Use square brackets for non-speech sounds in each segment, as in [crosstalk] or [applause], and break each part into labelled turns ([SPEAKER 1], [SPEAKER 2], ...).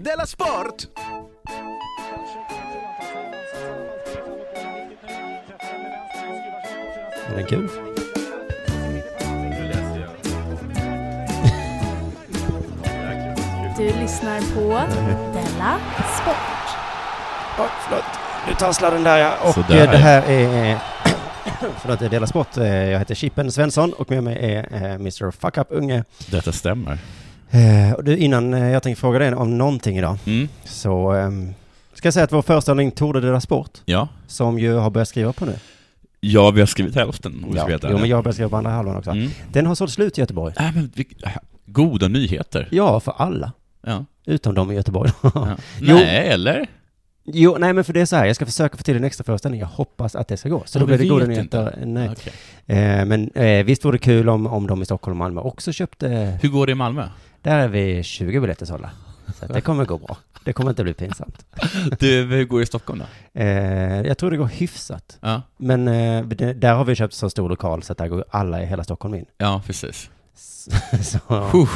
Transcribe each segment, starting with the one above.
[SPEAKER 1] Della Sport!
[SPEAKER 2] Är den kul?
[SPEAKER 3] Du lyssnar på Della Sport.
[SPEAKER 2] Oj, förlåt. Nu tasslar den där ja. Och
[SPEAKER 4] Sådär.
[SPEAKER 2] eh, det här är... eh, [coughs] förlåt, det är Dela Sport. Eh, Jag heter Chippen Svensson och med mig är eh, Mr. Fuck Up Unge.
[SPEAKER 4] Detta stämmer.
[SPEAKER 2] Eh, och du, innan eh, jag tänkte fråga dig om någonting idag
[SPEAKER 4] Mm.
[SPEAKER 2] så ehm, ska jag säga att vår föreställning Tour de Dela Sport,
[SPEAKER 4] Ja.
[SPEAKER 2] som ju har börjat skriva på nu.
[SPEAKER 4] ja, vi har skrivit hälften om vi ska veta
[SPEAKER 2] Jo,
[SPEAKER 4] det.
[SPEAKER 2] men jag har börjat skriva på andra halvan också.
[SPEAKER 4] Mm.
[SPEAKER 2] Den har sålt slut i Göteborg.
[SPEAKER 4] Äh, men, vi... äh, Goda nyheter.
[SPEAKER 2] Ja, för alla.
[SPEAKER 4] Ja.
[SPEAKER 2] Utom de i Göteborg. [laughs]
[SPEAKER 4] Ja.
[SPEAKER 2] Jo.
[SPEAKER 4] Nej, eller?
[SPEAKER 2] jo, nej men för det är så här, jag ska försöka få till en extra föreställning. Jag hoppas att det ska gå. Så
[SPEAKER 4] Ja,
[SPEAKER 2] då
[SPEAKER 4] vi
[SPEAKER 2] blir det goda
[SPEAKER 4] vet
[SPEAKER 2] nyheter. Nej.
[SPEAKER 4] Okej.
[SPEAKER 2] Eh, men eh, visst vore det kul om, om de i Stockholm och Malmö också köpte.
[SPEAKER 4] Hur går det i Malmö?
[SPEAKER 2] Där är vi 20 biljetter sålda. Så att det kommer gå bra. Det kommer inte bli pinsamt.
[SPEAKER 4] Du, hur går det i Stockholm då?
[SPEAKER 2] Eh, jag tror det går hyfsat.
[SPEAKER 4] Ja,
[SPEAKER 2] Men eh, det, där har vi köpt så stor lokal så att där går alla i hela Stockholm in.
[SPEAKER 4] ja precis.
[SPEAKER 2] Så, [laughs] så,
[SPEAKER 4] Puh,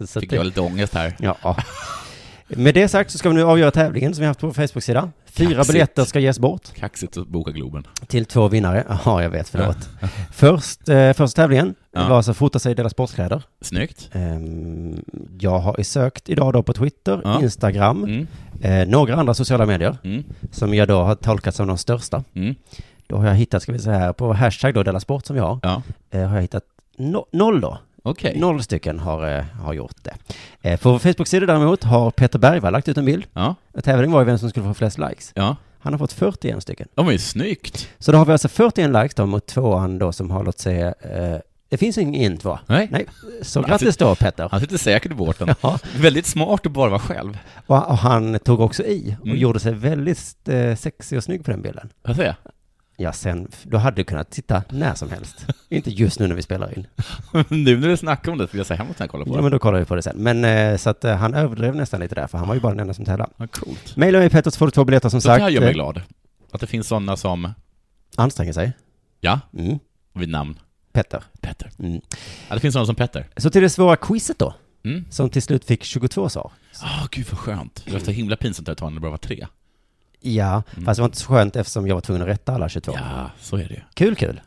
[SPEAKER 2] så
[SPEAKER 4] fick
[SPEAKER 2] det-
[SPEAKER 4] jag lite ångest här.
[SPEAKER 2] Ja. Med det sagt så ska vi nu avgöra tävlingen som vi haft på vår Facebook-sida. Fyra
[SPEAKER 4] Kaxigt.
[SPEAKER 2] biljetter ska ges bort
[SPEAKER 4] Kaxigt att boka Globen.
[SPEAKER 2] till två vinnare. Ja, jag vet, förlåt. Först, eh, första tävlingen
[SPEAKER 4] Ja.
[SPEAKER 2] var alltså fota sig i deras sportkläder.
[SPEAKER 4] Snyggt.
[SPEAKER 2] Ehm, jag har sökt idag då på Twitter,
[SPEAKER 4] Ja.
[SPEAKER 2] Instagram,
[SPEAKER 4] Mm,
[SPEAKER 2] eh, några andra sociala medier
[SPEAKER 4] mm,
[SPEAKER 2] som jag då har tolkat som de största.
[SPEAKER 4] mm.
[SPEAKER 2] Då har jag hittat, ska vi säga här, på hashtag då, Della Sport som vi har,
[SPEAKER 4] Ja,
[SPEAKER 2] eh, har jag hittat no- noll då.
[SPEAKER 4] okej.
[SPEAKER 2] Noll stycken har, eh, har gjort det. Eh, på vår Facebook-sida däremot har Peter Bergvall lagt ut en bild.
[SPEAKER 4] Ja,
[SPEAKER 2] Tävlingen var ju vem som skulle få flest likes.
[SPEAKER 4] ja.
[SPEAKER 2] Han har fått 41 stycken.
[SPEAKER 4] Ja, men snyggt.
[SPEAKER 2] Så då har vi alltså 41 likes då mot tvåan då som har, låt säga, eh, det finns ingen tvåa.
[SPEAKER 4] Nej.
[SPEAKER 2] Nej, så grattis då Petter.
[SPEAKER 4] Han sitter säkert i båten.
[SPEAKER 2] Ja.
[SPEAKER 4] Väldigt smart att bara vara själv.
[SPEAKER 2] Och och han tog också i och
[SPEAKER 4] Mm.
[SPEAKER 2] gjorde sig väldigt eh, sexig och snygg på den bilden.
[SPEAKER 4] Vad säger
[SPEAKER 2] Ja, sen, då hade du kunnat titta när som helst. Inte just nu när vi spelar in.
[SPEAKER 4] jag? [laughs] Nu när du snackar om det vill jag säga hemåt när jag kollar på
[SPEAKER 2] Ja,
[SPEAKER 4] det.
[SPEAKER 2] men då kollar vi på det sen. Men eh, så att eh, han överdrev nästan lite där, för han var ju bara den enda som tävlade.
[SPEAKER 4] Vad coolt.
[SPEAKER 2] Maila mig Petter så får du två biljetter som
[SPEAKER 4] Så det
[SPEAKER 2] sagt.
[SPEAKER 4] här gör mig
[SPEAKER 2] Eh,
[SPEAKER 4] glad. Att det finns sådana som,
[SPEAKER 2] Anstränger sig.
[SPEAKER 4] ja,
[SPEAKER 2] Mm.
[SPEAKER 4] vid namn
[SPEAKER 2] Petter.
[SPEAKER 4] Petter.
[SPEAKER 2] Mm.
[SPEAKER 4] Ja, det finns sådana som Petter.
[SPEAKER 2] Så till det svåra quizet då,
[SPEAKER 4] Mm.
[SPEAKER 2] som till slut fick 22 svar.
[SPEAKER 4] Ah, gud vad skönt. Det var så himla pinsamt att ta när det bara var tre.
[SPEAKER 2] Ja, fast det var inte så skönt eftersom jag var tvungen att rätta alla 22.
[SPEAKER 4] Mm. Ja, så är det ju. [laughs]
[SPEAKER 2] Kul, kul.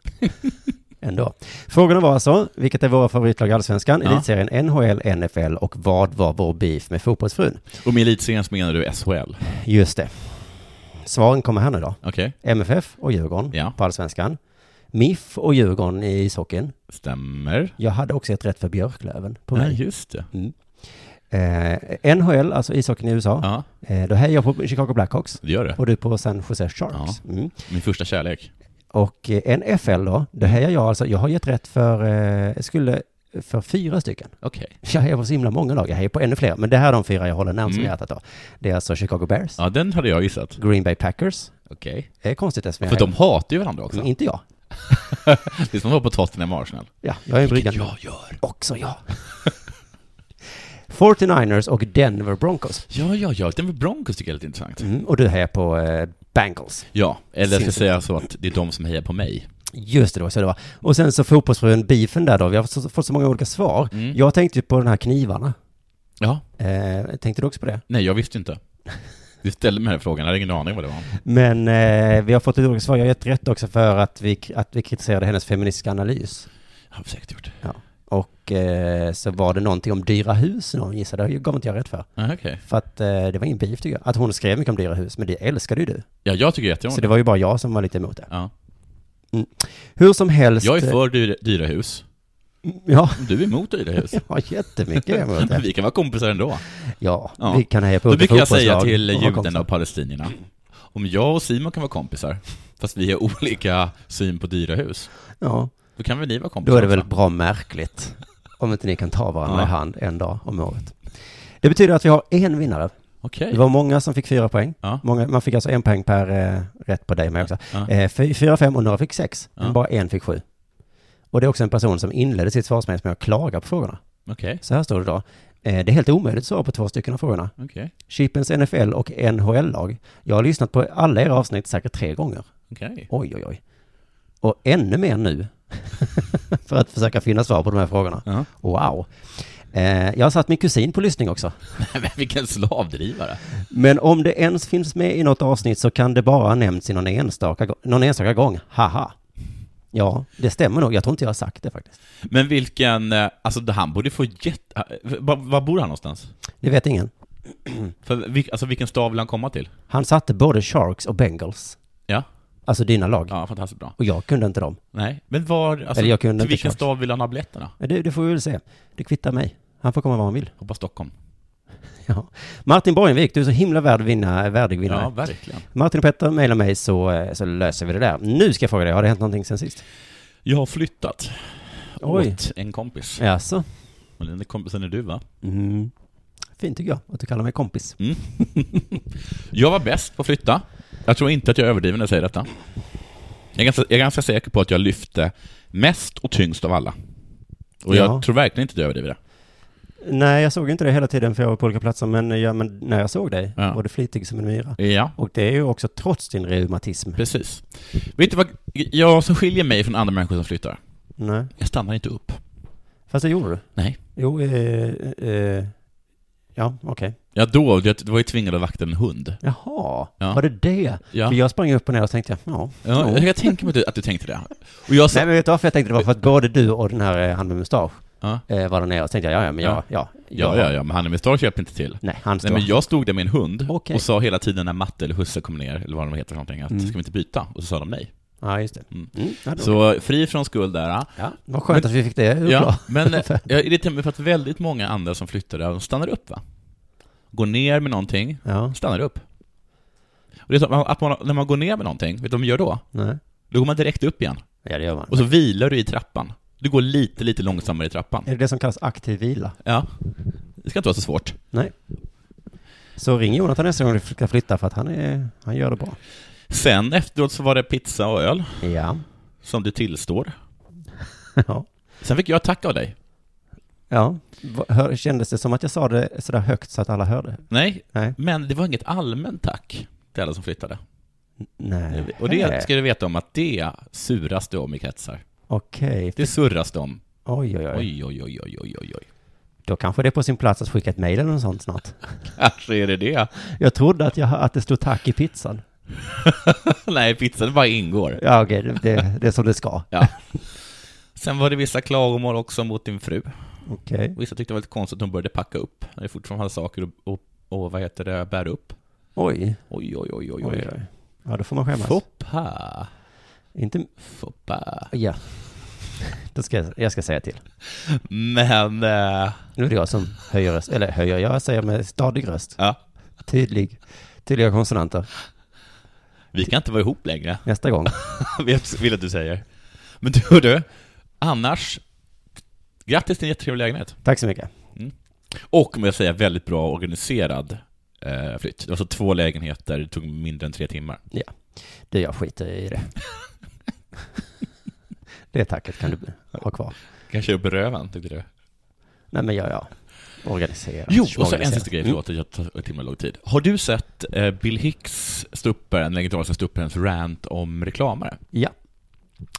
[SPEAKER 2] Ändå. Frågorna var alltså, vilket är våra favoritlag i Allsvenskan,
[SPEAKER 4] Ja.
[SPEAKER 2] elitserien NHL, NFL och vad var vår beef med fotbollsfrun?
[SPEAKER 4] Och med elitserien så menar du SHL?
[SPEAKER 2] Just det. Svaren kommer här nu då.
[SPEAKER 4] Okej,
[SPEAKER 2] MFF och Djurgården
[SPEAKER 4] Ja.
[SPEAKER 2] på Allsvenskan. MIF och Djurgården i ishockeyn.
[SPEAKER 4] stämmer.
[SPEAKER 2] Jag hade också ett rätt för Björklöven på
[SPEAKER 4] Ja,
[SPEAKER 2] mig.
[SPEAKER 4] just det.
[SPEAKER 2] Eh, NHL, alltså ishockeyn i USA.
[SPEAKER 4] Ja,
[SPEAKER 2] Eh, då hejar jag på Chicago Blackhawks.
[SPEAKER 4] det gör det.
[SPEAKER 2] Och du på San Jose Sharks. Mm.
[SPEAKER 4] Min första kärlek.
[SPEAKER 2] Och eh, NFL då, det hejar jag alltså, jag har gett rätt för, eh, jag skulle, för fyra stycken.
[SPEAKER 4] Okej.
[SPEAKER 2] Jag hejar på så himla många lag, jag hejar på ännu fler, men det här är de fyra jag håller närmst om
[SPEAKER 4] Mm.
[SPEAKER 2] hjärtat då. Det är alltså Chicago Bears,
[SPEAKER 4] Ja, den hade jag gissat.
[SPEAKER 2] Green Bay Packers,
[SPEAKER 4] Okej. Mm.
[SPEAKER 2] det är konstigt eftersom
[SPEAKER 4] För
[SPEAKER 2] jag
[SPEAKER 4] de hatar ju varandra
[SPEAKER 2] hejar-
[SPEAKER 4] också.
[SPEAKER 2] Men inte jag.
[SPEAKER 4] Det är som att vara på Tottenham och Arsenal.
[SPEAKER 2] Ja, jag är bryggan.
[SPEAKER 4] Vilket jag gör.
[SPEAKER 2] Också jag. 49ers och Denver Broncos.
[SPEAKER 4] Ja, ja, ja. Den med Broncos tycker jag är lite intressant.
[SPEAKER 2] Mm, och du hejar på eh, Bengals.
[SPEAKER 4] Ja, eller jag ska
[SPEAKER 2] Sinnes-
[SPEAKER 4] säga så att det är de som hejar på mig.
[SPEAKER 2] Just det, det var så det var. Och sen så fotbollsfrun, beefen där då, vi har så- fått så många olika svar.
[SPEAKER 4] Mm.
[SPEAKER 2] Jag tänkte ju på den här knivarna.
[SPEAKER 4] Ja.
[SPEAKER 2] Eh, tänkte du också på det?
[SPEAKER 4] Nej, jag visste inte. Du ställde mig den här frågan, jag hade ingen aning vad det var.
[SPEAKER 2] Men eh, vi har fått ett olika svar. Jag har gett rätt också för att vi, att vi kritiserade hennes feministiska analys.
[SPEAKER 4] Jag har säkert gjort.
[SPEAKER 2] Och eh, så var det någonting om dyra hus någon gissade. Det gav inte jag rätt för.
[SPEAKER 4] Ah, Okej.
[SPEAKER 2] För att eh, det var ingen beef tycker jag. Att hon skrev mycket om dyra hus, men det älskade ju du.
[SPEAKER 4] Ja, jag tycker
[SPEAKER 2] Så
[SPEAKER 4] jätteont.
[SPEAKER 2] det var ju bara jag som var lite emot det.
[SPEAKER 4] Ja.
[SPEAKER 2] Hur som helst. eh,
[SPEAKER 4] Jag är för dyra, dyra hus.
[SPEAKER 2] [laughs] Ja,
[SPEAKER 4] Du är emot dyra
[SPEAKER 2] [laughs]
[SPEAKER 4] hus.
[SPEAKER 2] jag har jättemycket emot
[SPEAKER 4] Men
[SPEAKER 2] det.
[SPEAKER 4] vi kan vara kompisar ändå.
[SPEAKER 2] Ja,
[SPEAKER 4] Ja.
[SPEAKER 2] vi kan heja på
[SPEAKER 4] Då
[SPEAKER 2] olika
[SPEAKER 4] brukar jag
[SPEAKER 2] fotbollslag
[SPEAKER 4] säga till
[SPEAKER 2] och ha
[SPEAKER 4] judarna
[SPEAKER 2] kompisar.
[SPEAKER 4] och palestinierna, om jag och Simon kan vara kompisar, fast vi har olika syn på dyra hus,
[SPEAKER 2] Ja,
[SPEAKER 4] då kan väl ni vara kompisar
[SPEAKER 2] då är det väl
[SPEAKER 4] också?
[SPEAKER 2] bra märkligt. Om inte ni kan ta varandra
[SPEAKER 4] Ja.
[SPEAKER 2] i hand en dag om året. Det betyder att vi har en vinnare.
[SPEAKER 4] Okej.
[SPEAKER 2] Det var många som fick fyra poäng.
[SPEAKER 4] Ja.
[SPEAKER 2] Många, man fick alltså en poäng per eh, rätt på dig med också.
[SPEAKER 4] Ja.
[SPEAKER 2] Eh, fy- fyra, fem och några fick sex.
[SPEAKER 4] Ja.
[SPEAKER 2] Men bara en fick sju. Och det är också en person som inledde sitt svarsmeddelande med att klaga på frågorna.
[SPEAKER 4] Okej.
[SPEAKER 2] Så här står det då. Eh, det är helt omöjligt att svara på två stycken av frågorna.
[SPEAKER 4] Okej.
[SPEAKER 2] Chippens NFL och NHL-lag. Jag har lyssnat på alla era avsnitt säkert tre gånger.
[SPEAKER 4] Okej.
[SPEAKER 2] Oj, oj, oj. Och [laughs]
[SPEAKER 4] [laughs]
[SPEAKER 2] ännu mer nu. för att försöka finna svar på de här frågorna.
[SPEAKER 4] Ja.
[SPEAKER 2] Wow. Eh, jag har satt min kusin på lyssning också.
[SPEAKER 4] Men Vilken slavdrivare.
[SPEAKER 2] Men om det ens finns med i något avsnitt så kan det bara ha nämnts i någon enstaka, gå- någon enstaka gång. Haha. Ja, det stämmer nog. Jag tror inte jag har sagt det faktiskt.
[SPEAKER 4] Men vilken, eh, alltså det- han borde få jätte... eh, Var, var bor han någonstans?
[SPEAKER 2] Det vet ingen.
[SPEAKER 4] För, vil- alltså vilken stad vill han komma till?
[SPEAKER 2] Han satte både Sharks och Bengals.
[SPEAKER 4] Ja,
[SPEAKER 2] Alltså dina lag.
[SPEAKER 4] ja fantastiskt bra.
[SPEAKER 2] Och jag kunde inte dem.
[SPEAKER 4] Nej, men var, alltså,
[SPEAKER 2] Eller jag kunde
[SPEAKER 4] till
[SPEAKER 2] inte
[SPEAKER 4] vilken
[SPEAKER 2] Charles.
[SPEAKER 4] stad vill han ha biljetterna?
[SPEAKER 2] Men det, det får vi väl se. Det kvittar mig. Han får komma var han vill. [laughs]
[SPEAKER 4] Hoppas Stockholm.
[SPEAKER 2] Ja. Martin Borgenvik, du är så himla värd vinna, värdig vinnare.
[SPEAKER 4] Ja, verkligen.
[SPEAKER 2] Martin och Petter, mejla mig så, eh, så löser vi det där. Nu ska jag fråga dig, har det hänt någonting sen sist?
[SPEAKER 4] Jag har flyttat.
[SPEAKER 2] Oj.
[SPEAKER 4] Åt en kompis.
[SPEAKER 2] Jaså?
[SPEAKER 4] Och den kompisen är du va?
[SPEAKER 2] Mm. Fint tycker jag, att du kallar mig kompis.
[SPEAKER 4] Jag var bäst på att flytta. Jag tror inte att jag överdriver när jag säger detta. Jag är ganska, jag är ganska säker på att jag lyfte mest och tyngst av alla. Och
[SPEAKER 2] Ja.
[SPEAKER 4] jag tror verkligen inte att jag överdriver det.
[SPEAKER 2] Nej, jag såg inte det hela tiden för jag var på olika platser, men, ja, men när jag såg dig
[SPEAKER 4] Ja.
[SPEAKER 2] var du flitig som en myra.
[SPEAKER 4] Ja,
[SPEAKER 2] Och det är ju också trots din reumatism.
[SPEAKER 4] precis. Vet du vad jag som skiljer mig från andra människor som flyttar?
[SPEAKER 2] Nej,
[SPEAKER 4] Jag stannar inte upp.
[SPEAKER 2] fast det gjorde du.
[SPEAKER 4] Nej.
[SPEAKER 2] Jo, eh, eh, ja, okej.
[SPEAKER 4] Ja, då, jag var ju tvingad att vakta en hund.
[SPEAKER 2] Jaha,
[SPEAKER 4] Ja.
[SPEAKER 2] var det det?
[SPEAKER 4] Ja.
[SPEAKER 2] För jag sprang upp och ner och tänkte, ja.
[SPEAKER 4] Ja, jag tänker mig att du- att du tänkte det. Och jag sa,
[SPEAKER 2] Nej men vet du varför jag tänkte det var för att både du och den här eh, han med mustasch
[SPEAKER 4] Ja.
[SPEAKER 2] eh, var där nere och så tänkte jag, ja ja men ja, ja.
[SPEAKER 4] ja, ja, ja, men han är med stark hjälper inte till.
[SPEAKER 2] Nej, han står.
[SPEAKER 4] Nej, men jag stod där med en hund
[SPEAKER 2] Okej. Mm.
[SPEAKER 4] och sa hela tiden när Matte eller Husse kom ner, eller vad de heter för någonting, att ska vi inte byta? Och så sa de nej.
[SPEAKER 2] Ja, just det. Mm. Ja, då.
[SPEAKER 4] Så fri från skuld där. ah.
[SPEAKER 2] ja, vad skönt att vi fick det
[SPEAKER 4] Ja,
[SPEAKER 2] ja.
[SPEAKER 4] men eh, jag irriterar mig för att väldigt många andra som flyttar där, de stannar upp va? Går ner med någonting,
[SPEAKER 2] ja,
[SPEAKER 4] stannar upp. Och det är så att man, att man, när man går ner med någonting, vet du vad man gör då?
[SPEAKER 2] nej.
[SPEAKER 4] Då går man direkt upp igen.
[SPEAKER 2] Ja, det gör man.
[SPEAKER 4] Och så vilar du i trappan. Du går lite, lite långsammare i trappan.
[SPEAKER 2] Är det det som kallas aktiv vila?
[SPEAKER 4] Ja. Det ska inte vara så svårt.
[SPEAKER 2] Nej. Så ring Jonathan nästa gång du ska flytta för att han, är, han gör det bra.
[SPEAKER 4] Sen efteråt så var det pizza och öl,
[SPEAKER 2] Ja.
[SPEAKER 4] som du tillstår.
[SPEAKER 2] [laughs] ja.
[SPEAKER 4] Sen fick jag tack av dig.
[SPEAKER 2] ja. Va- Hör, kändes det som att jag sa det sådär högt så att alla hörde?
[SPEAKER 4] Nej,
[SPEAKER 2] Nej.
[SPEAKER 4] men det var inget allmänt tack till alla som flyttade.
[SPEAKER 2] Nej.
[SPEAKER 4] Och det ska du veta om att det suras det om i kretsar.
[SPEAKER 2] Okej.
[SPEAKER 4] Det surras det om.
[SPEAKER 2] Oj, oj,
[SPEAKER 4] Oj,
[SPEAKER 2] oj.
[SPEAKER 4] oj, oj, oj, oj, oj, oj.
[SPEAKER 2] Då kanske det är på sin plats att skicka ett mejl eller något sånt snart.
[SPEAKER 4] Kanske är det det.
[SPEAKER 2] Jag trodde att, jag, att det stod tack i pizzan.
[SPEAKER 4] Nej, pizzan bara ingår.
[SPEAKER 2] Ja, okej, det, det, det är som det ska.
[SPEAKER 4] Ja. Sen var det vissa klagomål också mot din fru.
[SPEAKER 2] Okej.
[SPEAKER 4] Vissa tyckte det var lite konstigt att hon började packa upp. När det fortfarande hade saker och, och, och vad heter det, bära upp.
[SPEAKER 2] Oj.
[SPEAKER 4] Oj, oj, oj, oj,
[SPEAKER 2] Oj,
[SPEAKER 4] oj.
[SPEAKER 2] oj. Ja, då får man skämmas.
[SPEAKER 4] Foppa.
[SPEAKER 2] Inte...
[SPEAKER 4] Foppa.
[SPEAKER 2] Ja. Då ska jag, jag ska säga till.
[SPEAKER 4] Men, eh,
[SPEAKER 2] Nu är det jag som höjer röst. Eller höjer, jag säger med stadig röst.
[SPEAKER 4] ja.
[SPEAKER 2] Tydlig. Tydliga konsonanter.
[SPEAKER 4] Vi kan inte vara ihop längre. [laughs]
[SPEAKER 2] Nästa gång.
[SPEAKER 4] Jag vill att du säger. Men du, du annars, grattis till en jättetrevlig lägenhet.
[SPEAKER 2] Tack så mycket.
[SPEAKER 4] Och, må jag säga, väldigt bra organiserad eh, flytt. Det var så två lägenheter, det tog mindre än tre timmar.
[SPEAKER 2] Du, jag skiter i det. [laughs] Det tacket kan du ha kvar.
[SPEAKER 4] Kanske upp i röven, tyckte du?
[SPEAKER 2] Nej, men ja, ja. Organisera.
[SPEAKER 4] Jo, och så en
[SPEAKER 2] Organiserat.
[SPEAKER 4] sista grej, förlåt att jag tar en timme lång tid. Har du sett eh, Bill Hicks ståuppare, den legendariska ståupparens rant om reklamare?
[SPEAKER 2] Ja.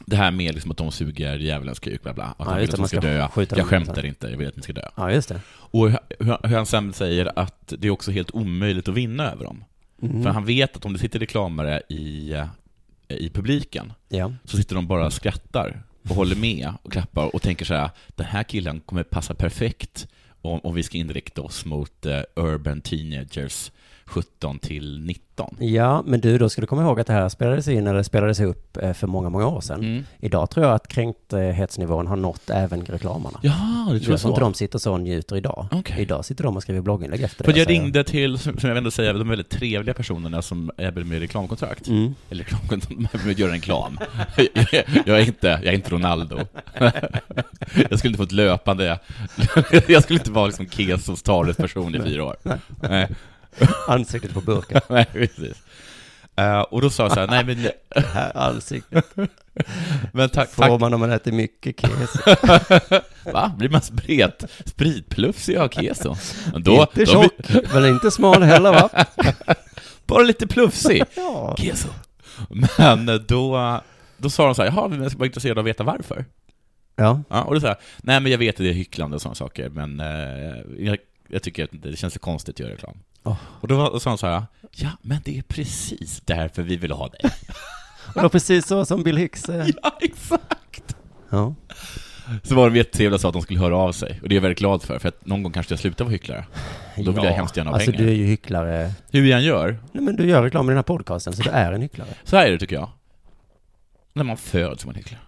[SPEAKER 4] Det här med liksom att de suger djävulens kuk, bla bla. Att
[SPEAKER 2] Mm. Ja,
[SPEAKER 4] de vill
[SPEAKER 2] just
[SPEAKER 4] att
[SPEAKER 2] det,
[SPEAKER 4] de
[SPEAKER 2] man
[SPEAKER 4] ska,
[SPEAKER 2] ska
[SPEAKER 4] dö.
[SPEAKER 2] skjuta
[SPEAKER 4] jag
[SPEAKER 2] dem.
[SPEAKER 4] skämtar inte, jag vill att ni ska dö.
[SPEAKER 2] Ja, just det.
[SPEAKER 4] Och hur, hur- hur han sen säger att det är också helt omöjligt att vinna över dem.
[SPEAKER 2] Mm.
[SPEAKER 4] För han vet att om det sitter reklamare i, eh, i publiken
[SPEAKER 2] Ja.
[SPEAKER 4] så sitter de bara och skrattar och håller med och klappar och tänker så här, den här killen kommer passa perfekt om, om vi ska inrikta oss mot eh, urban teenagers 17 till 19.
[SPEAKER 2] Ja, men du, då ska du komma ihåg att det här spelades in eller spelades upp eh, för många, många år sedan.
[SPEAKER 4] Mm.
[SPEAKER 2] Idag tror jag att kränkthetsnivån har nått även reklamarna.
[SPEAKER 4] Ja, det tror
[SPEAKER 2] Jag
[SPEAKER 4] jag
[SPEAKER 2] tror inte
[SPEAKER 4] så.
[SPEAKER 2] de sitter så och njuter idag.
[SPEAKER 4] Okej.
[SPEAKER 2] Idag sitter de och skriver blogginlägg efter
[SPEAKER 4] För
[SPEAKER 2] det.
[SPEAKER 4] jag
[SPEAKER 2] säger
[SPEAKER 4] ringde till, som som jag ändå säger, de väldigt trevliga personerna som erbjuder mig reklamkontrakt.
[SPEAKER 2] Mm.
[SPEAKER 4] Eller [laughs] reklamkontrakt, de erbjuder göra reklam. [laughs] jag, jag, är inte, jag är inte Ronaldo. [laughs] jag skulle inte få ett löpande... [laughs] jag skulle inte vara liksom Kesos talesperson i fyra år.
[SPEAKER 2] [laughs]
[SPEAKER 4] Nej.
[SPEAKER 2] Ansiktet på burken.
[SPEAKER 4] Nej, precis. Eh, och då sa jag så här, nej men,
[SPEAKER 2] Här Ansiktet
[SPEAKER 4] men [laughs] tack,
[SPEAKER 2] får
[SPEAKER 4] tack.
[SPEAKER 2] man om man äter mycket kes.
[SPEAKER 4] Va? Blir man spret, spritplufsig av keso? Men Då,
[SPEAKER 2] inte
[SPEAKER 4] då blir, [laughs]
[SPEAKER 2] tjock, men inte smal heller va?
[SPEAKER 4] bara lite plufsig.
[SPEAKER 2] Ja.
[SPEAKER 4] Keso. Men då, då sa de så här, jaha, men jag är bara intresserad av att veta varför.
[SPEAKER 2] Ja.
[SPEAKER 4] Ja, och det är så här, nej men jag vet att det är hycklande och sådana saker, men eh, jag, jag tycker att det känns så konstigt att göra reklam.
[SPEAKER 2] Åh.
[SPEAKER 4] Och då var- sa han så här, ja men det är precis därför vi vill ha dig.
[SPEAKER 2] Och det var precis så som Bill Hicks. eh,
[SPEAKER 4] [laughs] ja, exakt!
[SPEAKER 2] Ja.
[SPEAKER 4] Så var de jättetrevliga och sa att de skulle höra av sig, och det är jag väldigt glad för, för att någon gång kanske jag slutar vara hycklare. Då vill jag hemskt gärna ha
[SPEAKER 2] Alltså
[SPEAKER 4] pengar.
[SPEAKER 2] du är ju hycklare.
[SPEAKER 4] Hur jag än gör,
[SPEAKER 2] Nej men du gör reklam i den här podcasten, så du är en hycklare.
[SPEAKER 4] så här är det tycker jag. När man föds som en hycklare,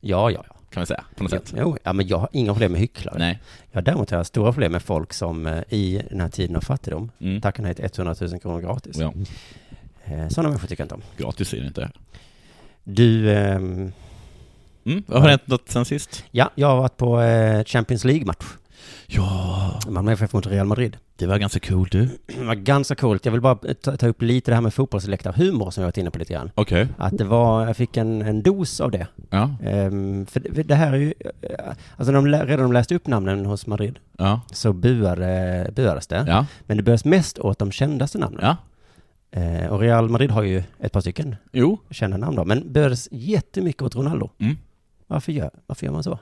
[SPEAKER 2] Ja, ja, ja.
[SPEAKER 4] kan man säga, på något sätt.
[SPEAKER 2] Jo, ja, men jag har inga problem med hycklare.
[SPEAKER 4] Nej.
[SPEAKER 2] Jag har däremot har jag stora problem med folk som eh, i den här tiden av fattigdom
[SPEAKER 4] Mm.
[SPEAKER 2] tackar nej till 100 000 kronor gratis.
[SPEAKER 4] Ja,
[SPEAKER 2] Eh, Sådana människor tycker jag inte om.
[SPEAKER 4] gratis är det inte.
[SPEAKER 2] Du, ehm,
[SPEAKER 4] Mm. Vad har hänt något sen sist?
[SPEAKER 2] ja, jag har varit på eh, Champions League-match.
[SPEAKER 4] Ja,
[SPEAKER 2] Malmö FF mot Real Madrid.
[SPEAKER 4] det var ganska cool du.
[SPEAKER 2] Det var ganska coolt. Jag vill bara ta, ta upp lite det här med fotbollsläktarhumor som jag varit inne på lite grann.
[SPEAKER 4] Okej.
[SPEAKER 2] Att det var, jag fick en, en dos av det.
[SPEAKER 4] Ja.
[SPEAKER 2] Ehm, för det, det här är ju, eh, alltså när de, lä- redan de läste upp namnen hos Madrid
[SPEAKER 4] Ja.
[SPEAKER 2] så buade, buades det.
[SPEAKER 4] Ja.
[SPEAKER 2] Men det buades mest åt de kändaste namnen.
[SPEAKER 4] Ja.
[SPEAKER 2] Eh, och Real Madrid har ju ett par stycken
[SPEAKER 4] Jo.
[SPEAKER 2] kända namn då, men buades jättemycket åt Ronaldo.
[SPEAKER 4] Mm.
[SPEAKER 2] Varför gör, varför gör man så?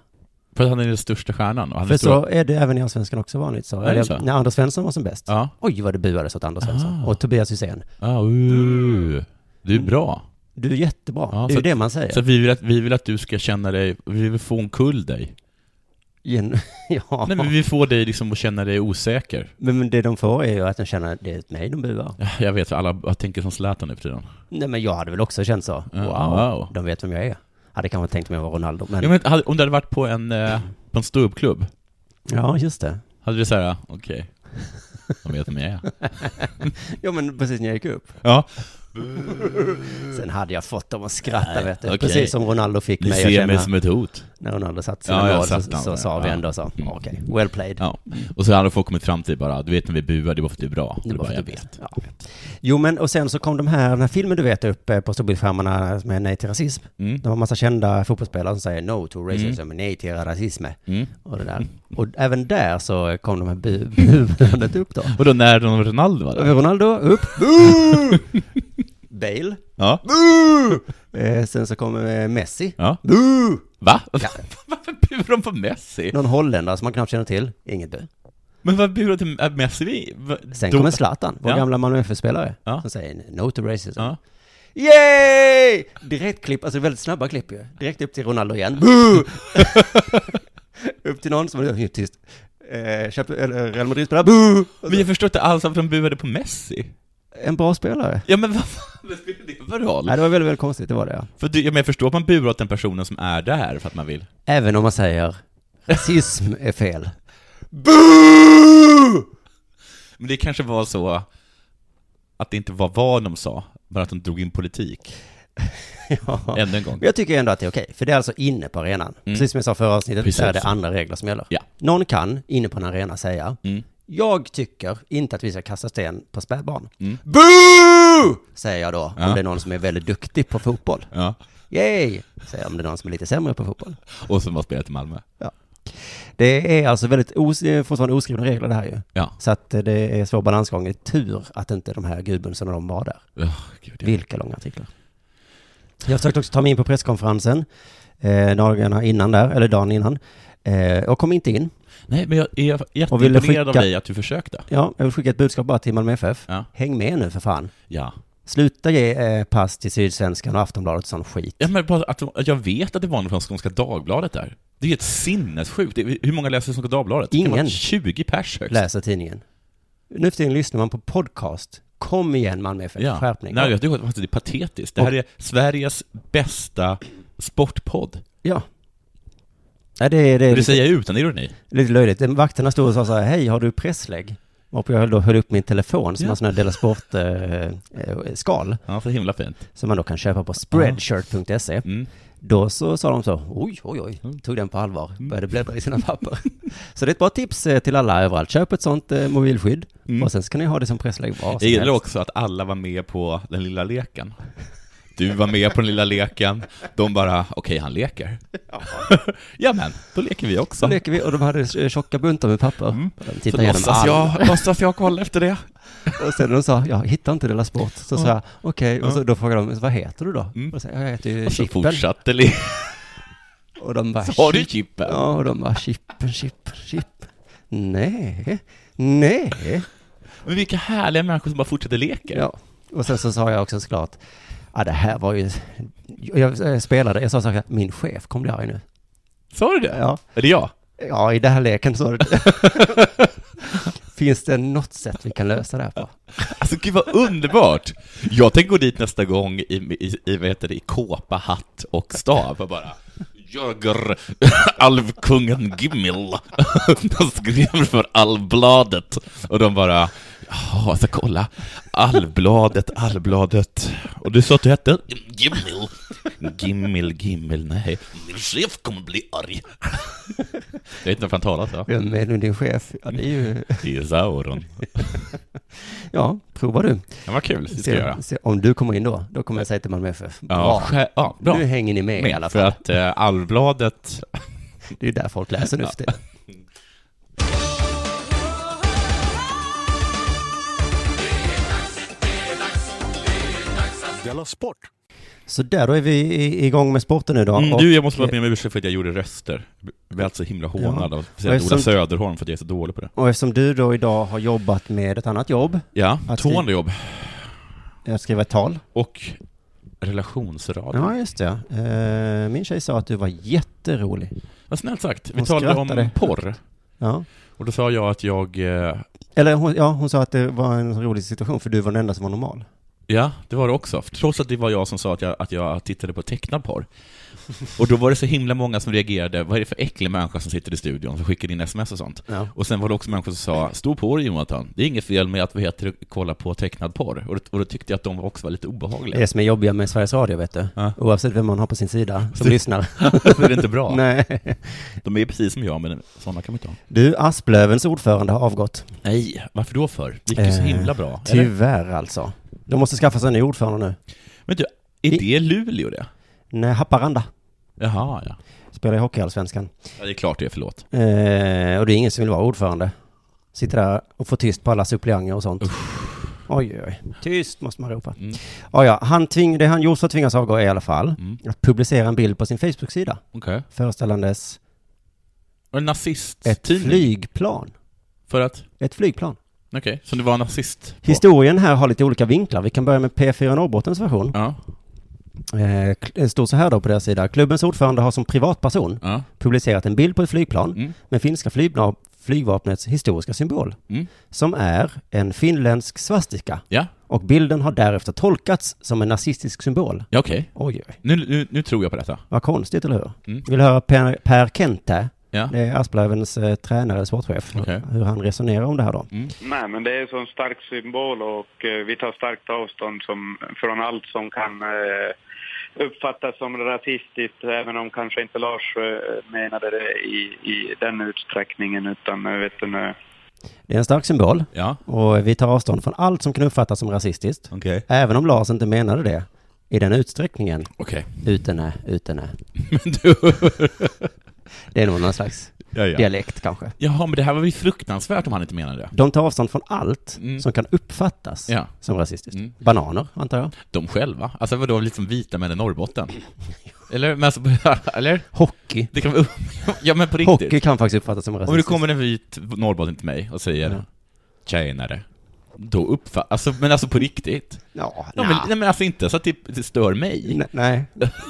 [SPEAKER 4] För att han är den största stjärnan. Och han är
[SPEAKER 2] För
[SPEAKER 4] stor-
[SPEAKER 2] så är det även i Allsvenskan också vanligt. Så.
[SPEAKER 4] det
[SPEAKER 2] Eller,
[SPEAKER 4] så?
[SPEAKER 2] När Anders Svensson var som bäst.
[SPEAKER 4] Ja.
[SPEAKER 2] Oj, vad det buades åt Anders Svensson.
[SPEAKER 4] Ah.
[SPEAKER 2] Och Tobias Hysén.
[SPEAKER 4] Ah, uh. Du är bra.
[SPEAKER 2] Du är jättebra.
[SPEAKER 4] Ja,
[SPEAKER 2] det är
[SPEAKER 4] så
[SPEAKER 2] ju det man säger.
[SPEAKER 4] Så vi vill, att, vi vill att du ska känna dig, vi vill få omkull dig.
[SPEAKER 2] Gen- [laughs] ja.
[SPEAKER 4] Nej men vi får dig liksom att känna dig osäker.
[SPEAKER 2] men, men det de får är ju att de känner, det är mig de buar.
[SPEAKER 4] Ja, Jag vet, alla jag tänker som Zlatan nu för tiden.
[SPEAKER 2] Nej, men jag hade väl också känt så. Wow,
[SPEAKER 4] Ja, wow.
[SPEAKER 2] de vet vem jag är. Hade kanske tänkt mig att vara Ronaldo, men...
[SPEAKER 4] Ja, men hade- om du hade varit på en, eh, på en ståuppklubb,
[SPEAKER 2] Ja, just det.
[SPEAKER 4] hade du såhär, okej, de vet vem jag är.
[SPEAKER 2] Ja, men precis när jag gick upp.
[SPEAKER 4] Ja,
[SPEAKER 2] Sen hade jag fått dem att skratta, vet du.
[SPEAKER 4] okej.
[SPEAKER 2] Precis som Ronaldo fick
[SPEAKER 4] ni
[SPEAKER 2] mig att
[SPEAKER 4] ser
[SPEAKER 2] känna.
[SPEAKER 4] mig som ett hot.
[SPEAKER 2] När Ronaldo satt sina
[SPEAKER 4] Ja, jag
[SPEAKER 2] mål så,
[SPEAKER 4] satt
[SPEAKER 2] så,
[SPEAKER 4] han där.
[SPEAKER 2] sa vi
[SPEAKER 4] Ja.
[SPEAKER 2] ändå så.
[SPEAKER 4] Mm.
[SPEAKER 2] Okej, well played.
[SPEAKER 4] Ja. Och så hade folk kommit fram till bara, du vet när vi buar, det är bara för att du är bra. Du
[SPEAKER 2] Det var
[SPEAKER 4] bara,
[SPEAKER 2] för
[SPEAKER 4] jag
[SPEAKER 2] dumt.
[SPEAKER 4] vet.
[SPEAKER 2] Ja. Jo, men och sen så kom de här, den här filmen du vet upp eh, på storbildsskärmarna med Nej till rasism.
[SPEAKER 4] Mm.
[SPEAKER 2] Det var en massa kända fotbollsspelare som säger No to racism, nej till rasism.
[SPEAKER 4] Mm.
[SPEAKER 2] Och
[SPEAKER 4] [laughs]
[SPEAKER 2] det där. Och även där så kom de här bu- [laughs] buandet upp då.
[SPEAKER 4] Och då när Ronaldo var där? [laughs]
[SPEAKER 2] Ronaldo upp. Bale.
[SPEAKER 4] Ja.
[SPEAKER 2] Eh, sen så kom eh, Messi.
[SPEAKER 4] ja. Va? [laughs] Varför burar de på Messi?
[SPEAKER 2] Någon holländare som man knappt känner till. Inget bu.
[SPEAKER 4] Men vad burar till är Messi? Vi? va-
[SPEAKER 2] Sen
[SPEAKER 4] då-
[SPEAKER 2] kommer Zlatan, vår
[SPEAKER 4] Ja.
[SPEAKER 2] gamla Malmö FF-spelare.
[SPEAKER 4] Ja.
[SPEAKER 2] Som säger No to racism.
[SPEAKER 4] Ja.
[SPEAKER 2] Yay! Direktklipp, alltså väldigt snabba klipp ju. Direkt upp till Ronaldo igen. [laughs] Boo! upp till någon som är helt tyst. Eh, köpte, eller Real Madrid-spelare, boo! Och
[SPEAKER 4] Men jag förstår inte alls varför de buade på Messi.
[SPEAKER 2] så- En bra spelare.
[SPEAKER 4] Ja men vad fan vad spelar det för roll?
[SPEAKER 2] Nej, det var väldigt, väldigt konstigt, det var det ja.
[SPEAKER 4] För du, ja, men jag förstår att man burar åt den personen som är där för att man vill.
[SPEAKER 2] Även om man säger [laughs] rasism är fel.
[SPEAKER 4] Men det kanske var så att det inte var vad de sa, bara att de drog in politik.
[SPEAKER 2] [laughs] ja.
[SPEAKER 4] Ännu en gång.
[SPEAKER 2] Men jag tycker ändå att det är okej, för det är alltså inne på arenan. Precis som jag sa förra avsnittet,
[SPEAKER 4] Precis.
[SPEAKER 2] så är det andra regler som gäller.
[SPEAKER 4] Ja.
[SPEAKER 2] Någon kan, inne på en arena, säga
[SPEAKER 4] Mm.
[SPEAKER 2] Jag tycker inte att vi ska kasta sten på spädbarn.
[SPEAKER 4] Mm.
[SPEAKER 2] Boo! Säger jag då,
[SPEAKER 4] Ja.
[SPEAKER 2] om det är någon som är väldigt duktig på fotboll.
[SPEAKER 4] Ja.
[SPEAKER 2] Yay! Säger jag om det är någon som är lite sämre på fotboll.
[SPEAKER 4] Och som var spelat i Malmö.
[SPEAKER 2] Det är alltså väldigt os- det är fortfarande oskrivna regler det här ju.
[SPEAKER 4] Ja.
[SPEAKER 2] Så att eh, det är svår balansgång. Det är tur att inte de här gudbundsen och de var där.
[SPEAKER 4] Oh, gud, ja.
[SPEAKER 2] Vilka långa artiklar. Jag försökte också ta mig in på presskonferensen, eh, dagarna innan där, eller dagen innan. Eh, och kom inte in.
[SPEAKER 4] Nej, men jag är
[SPEAKER 2] Och ville
[SPEAKER 4] jätteimponerad av
[SPEAKER 2] skicka-
[SPEAKER 4] dig att du försökte.
[SPEAKER 2] Ja, jag vill skicka ett budskap bara till Malmö FF.
[SPEAKER 4] Ja.
[SPEAKER 2] Häng med nu för fan.
[SPEAKER 4] Ja.
[SPEAKER 2] Sluta ge eh, pass till Sydsvenskan och Aftonbladet och sån skit.
[SPEAKER 4] ja men bara att de, jag vet att det var någon från Skånska Dagbladet där. Det är helt sinnessjukt. Det- Hur många läser Skånska Dagbladet? Det kan vara
[SPEAKER 2] Ingen.
[SPEAKER 4] 20 pers högst.
[SPEAKER 2] Läsa tidningen. Nu för tiden lyssnar man på podcast. Kom igen Malmö FF,
[SPEAKER 4] Ja.
[SPEAKER 2] skärpning.
[SPEAKER 4] Nej, jag tycker att det är patetiskt. Det här
[SPEAKER 2] Och-
[SPEAKER 4] är Sveriges bästa sportpodd.
[SPEAKER 2] ja. Nej, det är, det
[SPEAKER 4] Det
[SPEAKER 2] är lite,
[SPEAKER 4] säger jag utan ironi.
[SPEAKER 2] lite löjligt. Vakterna stod och sa så här, hej har du presslägg? Och jag höll, då, höll upp min telefon som
[SPEAKER 4] Ja.
[SPEAKER 2] har sån här Dela Sport-skal.
[SPEAKER 4] Ja, så himla fint.
[SPEAKER 2] som man då kan köpa på spreadshirt.se.
[SPEAKER 4] Mm.
[SPEAKER 2] Då så sa de så, oj, oj, oj, tog den på allvar,
[SPEAKER 4] Mm.
[SPEAKER 2] började bläddra i sina papper. [laughs] så det är ett bra tips eh, till alla överallt, köp ett sånt eh, mobilskydd och sen ska ni ha det som presslägg bra.
[SPEAKER 4] Jag gillar Mm. också att alla var med på den lilla leken. Du var med på den lilla leken, de bara, okej, han
[SPEAKER 2] [laughs]
[SPEAKER 4] leker. ja men, då leker vi
[SPEAKER 2] Så
[SPEAKER 4] också.
[SPEAKER 2] leker vi och de hade eh, tjocka buntar med papper. De
[SPEAKER 4] Så
[SPEAKER 2] tittade igenom
[SPEAKER 4] Mm. låtsas
[SPEAKER 2] allt.
[SPEAKER 4] jag, låtsas jag kolla efter det.
[SPEAKER 2] Och sen när de sa, jag hittar inte Dela Sport, så sa jag, okej, och så då frågade de, vad heter du då?
[SPEAKER 4] Mm.
[SPEAKER 2] Och så, jag heter ju
[SPEAKER 4] Och så
[SPEAKER 2] Chippen.
[SPEAKER 4] fortsatte le.
[SPEAKER 2] Och de bara...
[SPEAKER 4] Sa du
[SPEAKER 2] "Chip."
[SPEAKER 4] chippen?
[SPEAKER 2] Ja, och de bara chippen, chippen, chippen. Nej, nej.
[SPEAKER 4] Men vilka härliga människor som bara fortsätter leka.
[SPEAKER 2] Ja. Och sen så sa jag också såklart, ja det här var ju... Jag eh, spelade, jag sa så här, min chef kommer bli arg nu.
[SPEAKER 4] Sa du det?
[SPEAKER 2] Ja.
[SPEAKER 4] Är det jag?
[SPEAKER 2] Ja, i den här leken så... [laughs] Finns det något sätt vi kan lösa det här på?
[SPEAKER 4] Alltså gud vad underbart! Jag tänker gå dit nästa gång i, i, i, vad heter det, i kåpa, hatt och stav och bara Jörger, alvkungen Gimmel, [laughs] de skrev för Alvbladet och de bara Jaha, så kolla, Alvbladet, Alvbladet och du sa att du hette Gimmel, Gimmel, Gimmel, nej, min chef kommer bli arg. [laughs] Jag vet inte varför han talar så.
[SPEAKER 2] Vem är nu din chef? Ja, det är ju...
[SPEAKER 4] Det är Sauron.
[SPEAKER 2] Ja, prova du.
[SPEAKER 4] Ja, vad kul, det ska jag göra.
[SPEAKER 2] Se, se, om du kommer in då, då kommer jag säga till Malmö FF,
[SPEAKER 4] Ja,
[SPEAKER 2] bra.
[SPEAKER 4] sjä- ja bra.
[SPEAKER 2] Nu hänger ni med, i alla
[SPEAKER 4] med, för
[SPEAKER 2] fall.
[SPEAKER 4] att eh, Alvbladet...
[SPEAKER 2] Det är ju där folk läser nu för tiden.
[SPEAKER 1] Della Sport!
[SPEAKER 2] Så där, då är vi i- igång med sporten nu då.
[SPEAKER 4] Mm,
[SPEAKER 2] och,
[SPEAKER 4] du, jag måste vara med om ursäkt för att jag gjorde röster. Jag blev alltså himla hånad av speciellt
[SPEAKER 2] Eftersom-
[SPEAKER 4] Ola Söderholm för att jag är så dålig på det.
[SPEAKER 2] och eftersom du då idag har jobbat med ett annat jobb,
[SPEAKER 4] Ja,
[SPEAKER 2] Att
[SPEAKER 4] tvåande jobb.
[SPEAKER 2] att skriva ett tal.
[SPEAKER 4] Och relationsradio.
[SPEAKER 2] Ja, just det. Eh, Min tjej sa att du var jätterolig.
[SPEAKER 4] Vad snällt sagt. Vi
[SPEAKER 2] Hon
[SPEAKER 4] talade om
[SPEAKER 2] skrattade.
[SPEAKER 4] porr.
[SPEAKER 2] Ja.
[SPEAKER 4] Och då sa jag att jag... eh,
[SPEAKER 2] Eller hon, ja, hon sa att det var en rolig situation, för du var den enda som var normal.
[SPEAKER 4] Ja, det var det också. Trots att det var jag som sa att jag, att jag tittade på tecknad porr. Och då var det så himla många som reagerade. Vad är det för äcklig människa som sitter i studion som skickar in sms och sånt?
[SPEAKER 2] Ja.
[SPEAKER 4] Och sen var det också människor som sa ”Stå på dig Jonathan, det är inget fel med att vi heter kolla på tecknad porr”. Och då, och då tyckte jag att de också var lite obehagliga.
[SPEAKER 2] Det som är jobbiga med Sveriges Radio, vet du.
[SPEAKER 4] Ja.
[SPEAKER 2] Oavsett vem man har på sin sida som
[SPEAKER 4] Så-
[SPEAKER 2] lyssnar.
[SPEAKER 4] Då är det inte [laughs] bra.
[SPEAKER 2] [laughs] Nej.
[SPEAKER 4] De är precis som jag, men sådana kan man inte ha.
[SPEAKER 2] Du, Asplövens ordförande har avgått.
[SPEAKER 4] Nej, varför då för? Det gick ju så
[SPEAKER 2] Eh,
[SPEAKER 4] himla bra. eller?
[SPEAKER 2] Tyvärr alltså. De måste skaffa sig en ny ordförande nu.
[SPEAKER 4] Men du, är det Luleå det?
[SPEAKER 2] Nej, Haparanda
[SPEAKER 4] Jaha, ja.
[SPEAKER 2] spelar i Hockeyallsvenskan.
[SPEAKER 4] ja. Det är klart det är, förlåt.
[SPEAKER 2] Eh, och det är ingen som vill vara ordförande. Sitter där och får tyst på alla suppleanter och sånt. Oj, oj, oj. Tyst måste man ropa.
[SPEAKER 4] Mm.
[SPEAKER 2] Ja, ja. Han tving, det han gjort så tvingas avgå är i alla fall
[SPEAKER 4] Mm.
[SPEAKER 2] att publicera en bild på sin Facebook-sida
[SPEAKER 4] Okej.
[SPEAKER 2] föreställandes
[SPEAKER 4] Och en
[SPEAKER 2] ett
[SPEAKER 4] nazisttidning?
[SPEAKER 2] flygplan.
[SPEAKER 4] För att?
[SPEAKER 2] Ett flygplan.
[SPEAKER 4] Okej, så det var en nazist? på-
[SPEAKER 2] Historien här har lite olika vinklar. Vi kan börja med P4 Norrbottens version.
[SPEAKER 4] Ja,
[SPEAKER 2] Eh, k- Det står så här då på deras sida. Klubbens ordförande har som privatperson
[SPEAKER 4] ja.
[SPEAKER 2] publicerat en bild på ett flygplan
[SPEAKER 4] Mm.
[SPEAKER 2] med finska flygplan, flygvapnets historiska symbol,
[SPEAKER 4] Mm.
[SPEAKER 2] som är en finländsk svastika.
[SPEAKER 4] Ja,
[SPEAKER 2] Och bilden har därefter tolkats som en nazistisk symbol.
[SPEAKER 4] ja okej.
[SPEAKER 2] Oj, oj.
[SPEAKER 4] Nu, nu, nu tror jag på detta.
[SPEAKER 2] Vad konstigt, eller hur?
[SPEAKER 4] Mm.
[SPEAKER 2] Vill höra Per, per Kente,
[SPEAKER 4] Ja.
[SPEAKER 2] det är Asplövens eh, tränare, sportchef,
[SPEAKER 4] Okej. Mm.
[SPEAKER 2] hur han resonerar om det här då.
[SPEAKER 5] Nej, men det är en sån stark symbol och eh, vi tar starkt avstånd som, från allt som kan eh, uppfattas som rasistiskt, även om kanske inte Lars eh, menade det i, i den utsträckningen, utan eh, vet du, nu,
[SPEAKER 2] Det är en stark symbol
[SPEAKER 4] Ja,
[SPEAKER 2] och vi tar avstånd från allt som kan uppfattas som rasistiskt.
[SPEAKER 4] okej.
[SPEAKER 2] Även om Lars inte menade det i den utsträckningen.
[SPEAKER 4] Okej. [laughs]
[SPEAKER 2] Utan är, utan är.
[SPEAKER 4] Men du...
[SPEAKER 2] Det är nog någon slags
[SPEAKER 4] ja, ja.
[SPEAKER 2] dialekt kanske.
[SPEAKER 4] Jaha, men det här var ju fruktansvärt om han inte menade det.
[SPEAKER 2] De tar avstånd från allt
[SPEAKER 4] Mm.
[SPEAKER 2] som kan uppfattas
[SPEAKER 4] Ja.
[SPEAKER 2] som rasistiskt.
[SPEAKER 4] Mm.
[SPEAKER 2] Bananer, antar jag.
[SPEAKER 4] De själva? Alltså vadå, liksom vita män i [laughs] Norrbotten? Eller? Men alltså, [laughs] eller?
[SPEAKER 2] Hockey.
[SPEAKER 4] Det kan vara... [laughs] Ja men på riktigt.
[SPEAKER 2] Hockey kan faktiskt uppfattas som
[SPEAKER 4] Om det
[SPEAKER 2] rasistiskt.
[SPEAKER 4] kommer en vit norrbotten till mig och säger
[SPEAKER 2] Ja.
[SPEAKER 4] ”tjenare”, då uppfattar... Alltså, men alltså på riktigt?
[SPEAKER 2] Ja,
[SPEAKER 4] Ja, men, nej men alltså inte så att det, det stör mig.
[SPEAKER 2] N- Nej,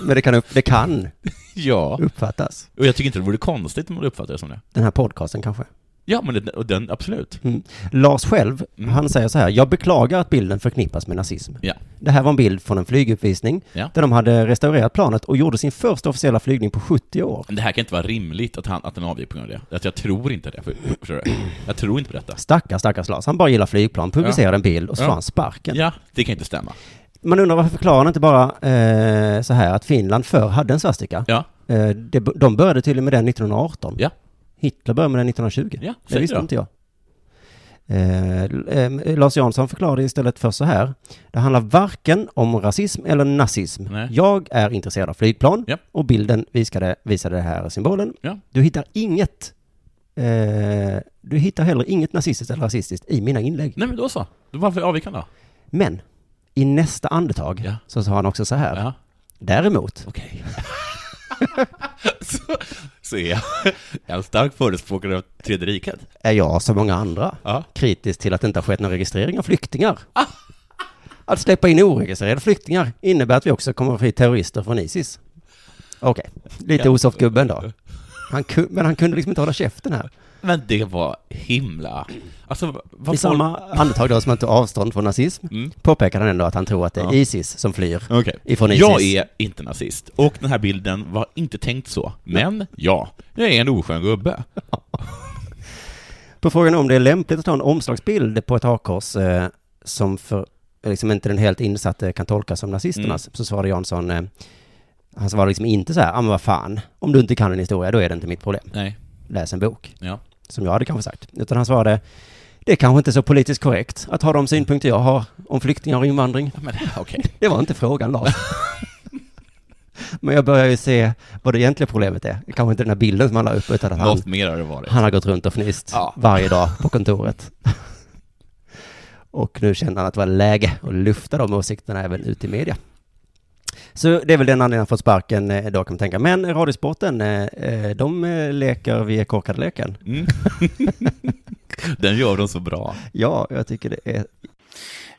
[SPEAKER 2] men det kan, upp, det kan
[SPEAKER 4] Ja.
[SPEAKER 2] uppfattas.
[SPEAKER 4] Och jag tycker inte det vore konstigt om du uppfattar det som det.
[SPEAKER 2] Den här podcasten kanske.
[SPEAKER 4] Ja, men den, och den absolut.
[SPEAKER 2] Mm. Lars själv,
[SPEAKER 4] Mm.
[SPEAKER 2] han säger så här. Jag beklagar att bilden förknippas med nazism.
[SPEAKER 4] Ja.
[SPEAKER 2] Det här var en bild från en flyguppvisning
[SPEAKER 4] Ja.
[SPEAKER 2] där de hade restaurerat planet och gjorde sin första officiella flygning på 70 år.
[SPEAKER 4] Men det här kan inte vara rimligt att, han, att den avgick på grund av det. Att jag tror inte det. För, förstår du? Jag tror inte på detta.
[SPEAKER 2] Stackars, stackars Lars. Han bara gillar flygplan, publicerade en bild och så
[SPEAKER 4] Ja.
[SPEAKER 2] får han sparken.
[SPEAKER 4] Ja, det kan inte stämma.
[SPEAKER 2] Man undrar varför förklarar han inte bara eh, så här att Finland förr hade en svastika.
[SPEAKER 4] Ja,
[SPEAKER 2] Eh, det, de började tydligen med den 1918.
[SPEAKER 4] Ja.
[SPEAKER 2] Hitler började med den 1920.
[SPEAKER 4] Ja,
[SPEAKER 2] det
[SPEAKER 4] säg
[SPEAKER 2] visste
[SPEAKER 4] då.
[SPEAKER 2] inte jag. Eh, L- eh, Lars Jansson förklarade istället för så här. Det handlar varken om rasism eller nazism.
[SPEAKER 4] Nej.
[SPEAKER 2] Jag är intresserad av flygplan
[SPEAKER 4] Ja.
[SPEAKER 2] och bilden visade, visade den här symbolen.
[SPEAKER 4] Ja.
[SPEAKER 2] Du hittar inget eh, du hittar heller inget nazistiskt eller rasistiskt i mina inlägg.
[SPEAKER 4] nej men då så. Då varför avgick han då?
[SPEAKER 2] Men i nästa andetag
[SPEAKER 4] Ja.
[SPEAKER 2] så sa han också så här.
[SPEAKER 4] Ja,
[SPEAKER 2] Däremot
[SPEAKER 4] okej. [laughs] så, så är jag en stark förespråkare av tredje riket.
[SPEAKER 2] Är jag, som många andra,
[SPEAKER 4] Ja. Ah!
[SPEAKER 2] kritisk till att det inte har skett någon registrering av flyktingar. Att släppa in oregistrerade flyktingar innebär att vi också kommer att få hit terrorister från Isis. Okej, lite osoft gubben då. Han ku- men han kunde liksom inte hålla käften här.
[SPEAKER 4] Men det var himla... Alltså, vad
[SPEAKER 2] I samma andetag då som han tog avstånd från nazism
[SPEAKER 4] Mm.
[SPEAKER 2] påpekar han ändå att han tror att det är
[SPEAKER 4] Ja.
[SPEAKER 2] Isis som flyr
[SPEAKER 4] Okej.
[SPEAKER 2] ifrån Isis.
[SPEAKER 4] Jag är inte nazist, och den här bilden var inte tänkt så. Men, ja, jag är en oskön gubbe.
[SPEAKER 2] På frågan om det är lämpligt att ta en omslagsbild på ett hakkors eh, som för liksom inte den helt insatte kan tolkas som nazisternas,
[SPEAKER 4] Mm.
[SPEAKER 2] så svarade Jansson, eh, han svarade liksom inte så här, ah, men vad fan, om du inte kan en historia, då är det inte mitt problem.
[SPEAKER 4] Nej,
[SPEAKER 2] Läs en bok,
[SPEAKER 4] ja.
[SPEAKER 2] som jag hade kanske sagt. Utan han svarade, det är kanske inte så politiskt korrekt att ha de synpunkter jag har om flyktingar och invandring.
[SPEAKER 4] Ja, Men okej.
[SPEAKER 2] [laughs] Det var inte
[SPEAKER 4] [laughs]
[SPEAKER 2] frågan, Lars. men jag börjar ju se vad det egentliga problemet är. Kanske inte den här bilden som han la upp, utan att han
[SPEAKER 4] Något mer har det varit.
[SPEAKER 2] han har gått runt och fnyst
[SPEAKER 4] Ja.
[SPEAKER 2] varje dag på kontoret. och nu kände han att det var läge att lufta de åsikterna även ut i media. Så det är väl den anledningen han fått sparken eh, då kan man tänka. Men Radiosporten, eh, eh, de eh, leker vi är korkade leken.
[SPEAKER 4] Mm. [laughs] den gör de så bra.
[SPEAKER 2] Ja, jag tycker det är...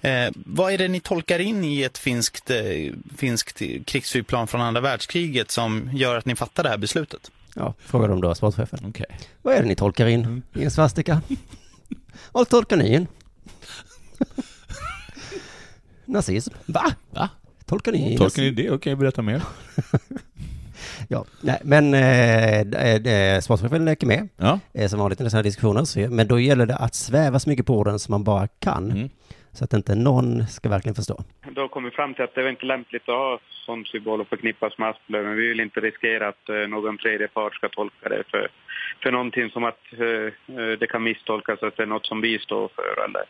[SPEAKER 1] Eh, vad är det ni tolkar in i ett finskt, eh, finskt krigsflygplan från andra världskriget som gör att ni fattar det här beslutet?
[SPEAKER 2] Ja, frågar de då sportchefen.
[SPEAKER 4] Okej.
[SPEAKER 2] Vad är det ni tolkar in
[SPEAKER 4] Mm.
[SPEAKER 2] i en svastika? Vad tolkar ni
[SPEAKER 4] [laughs]
[SPEAKER 2] in? Nazism? Va?
[SPEAKER 4] Va?
[SPEAKER 2] Tolkar ni in?
[SPEAKER 4] Tolkar ni det? Okej, berätta mer.
[SPEAKER 2] Ja, nej, men eh, eh, eh, sportchefen leker med,
[SPEAKER 4] Ja.
[SPEAKER 2] eh, som vanligt i sådana här diskussioner. Så, men då gäller det att sväva så mycket på orden som man bara kan,
[SPEAKER 4] Mm.
[SPEAKER 2] så att inte någon ska verkligen förstå.
[SPEAKER 5] Då kom vi fram till att det var inte lämpligt att ha som symbol och förknippas med asplöven. Vi vill inte riskera att eh, någon tredje part ska tolka det för, för någonting som att eh, eh, det kan misstolkas att det är något som vi står för. Eller.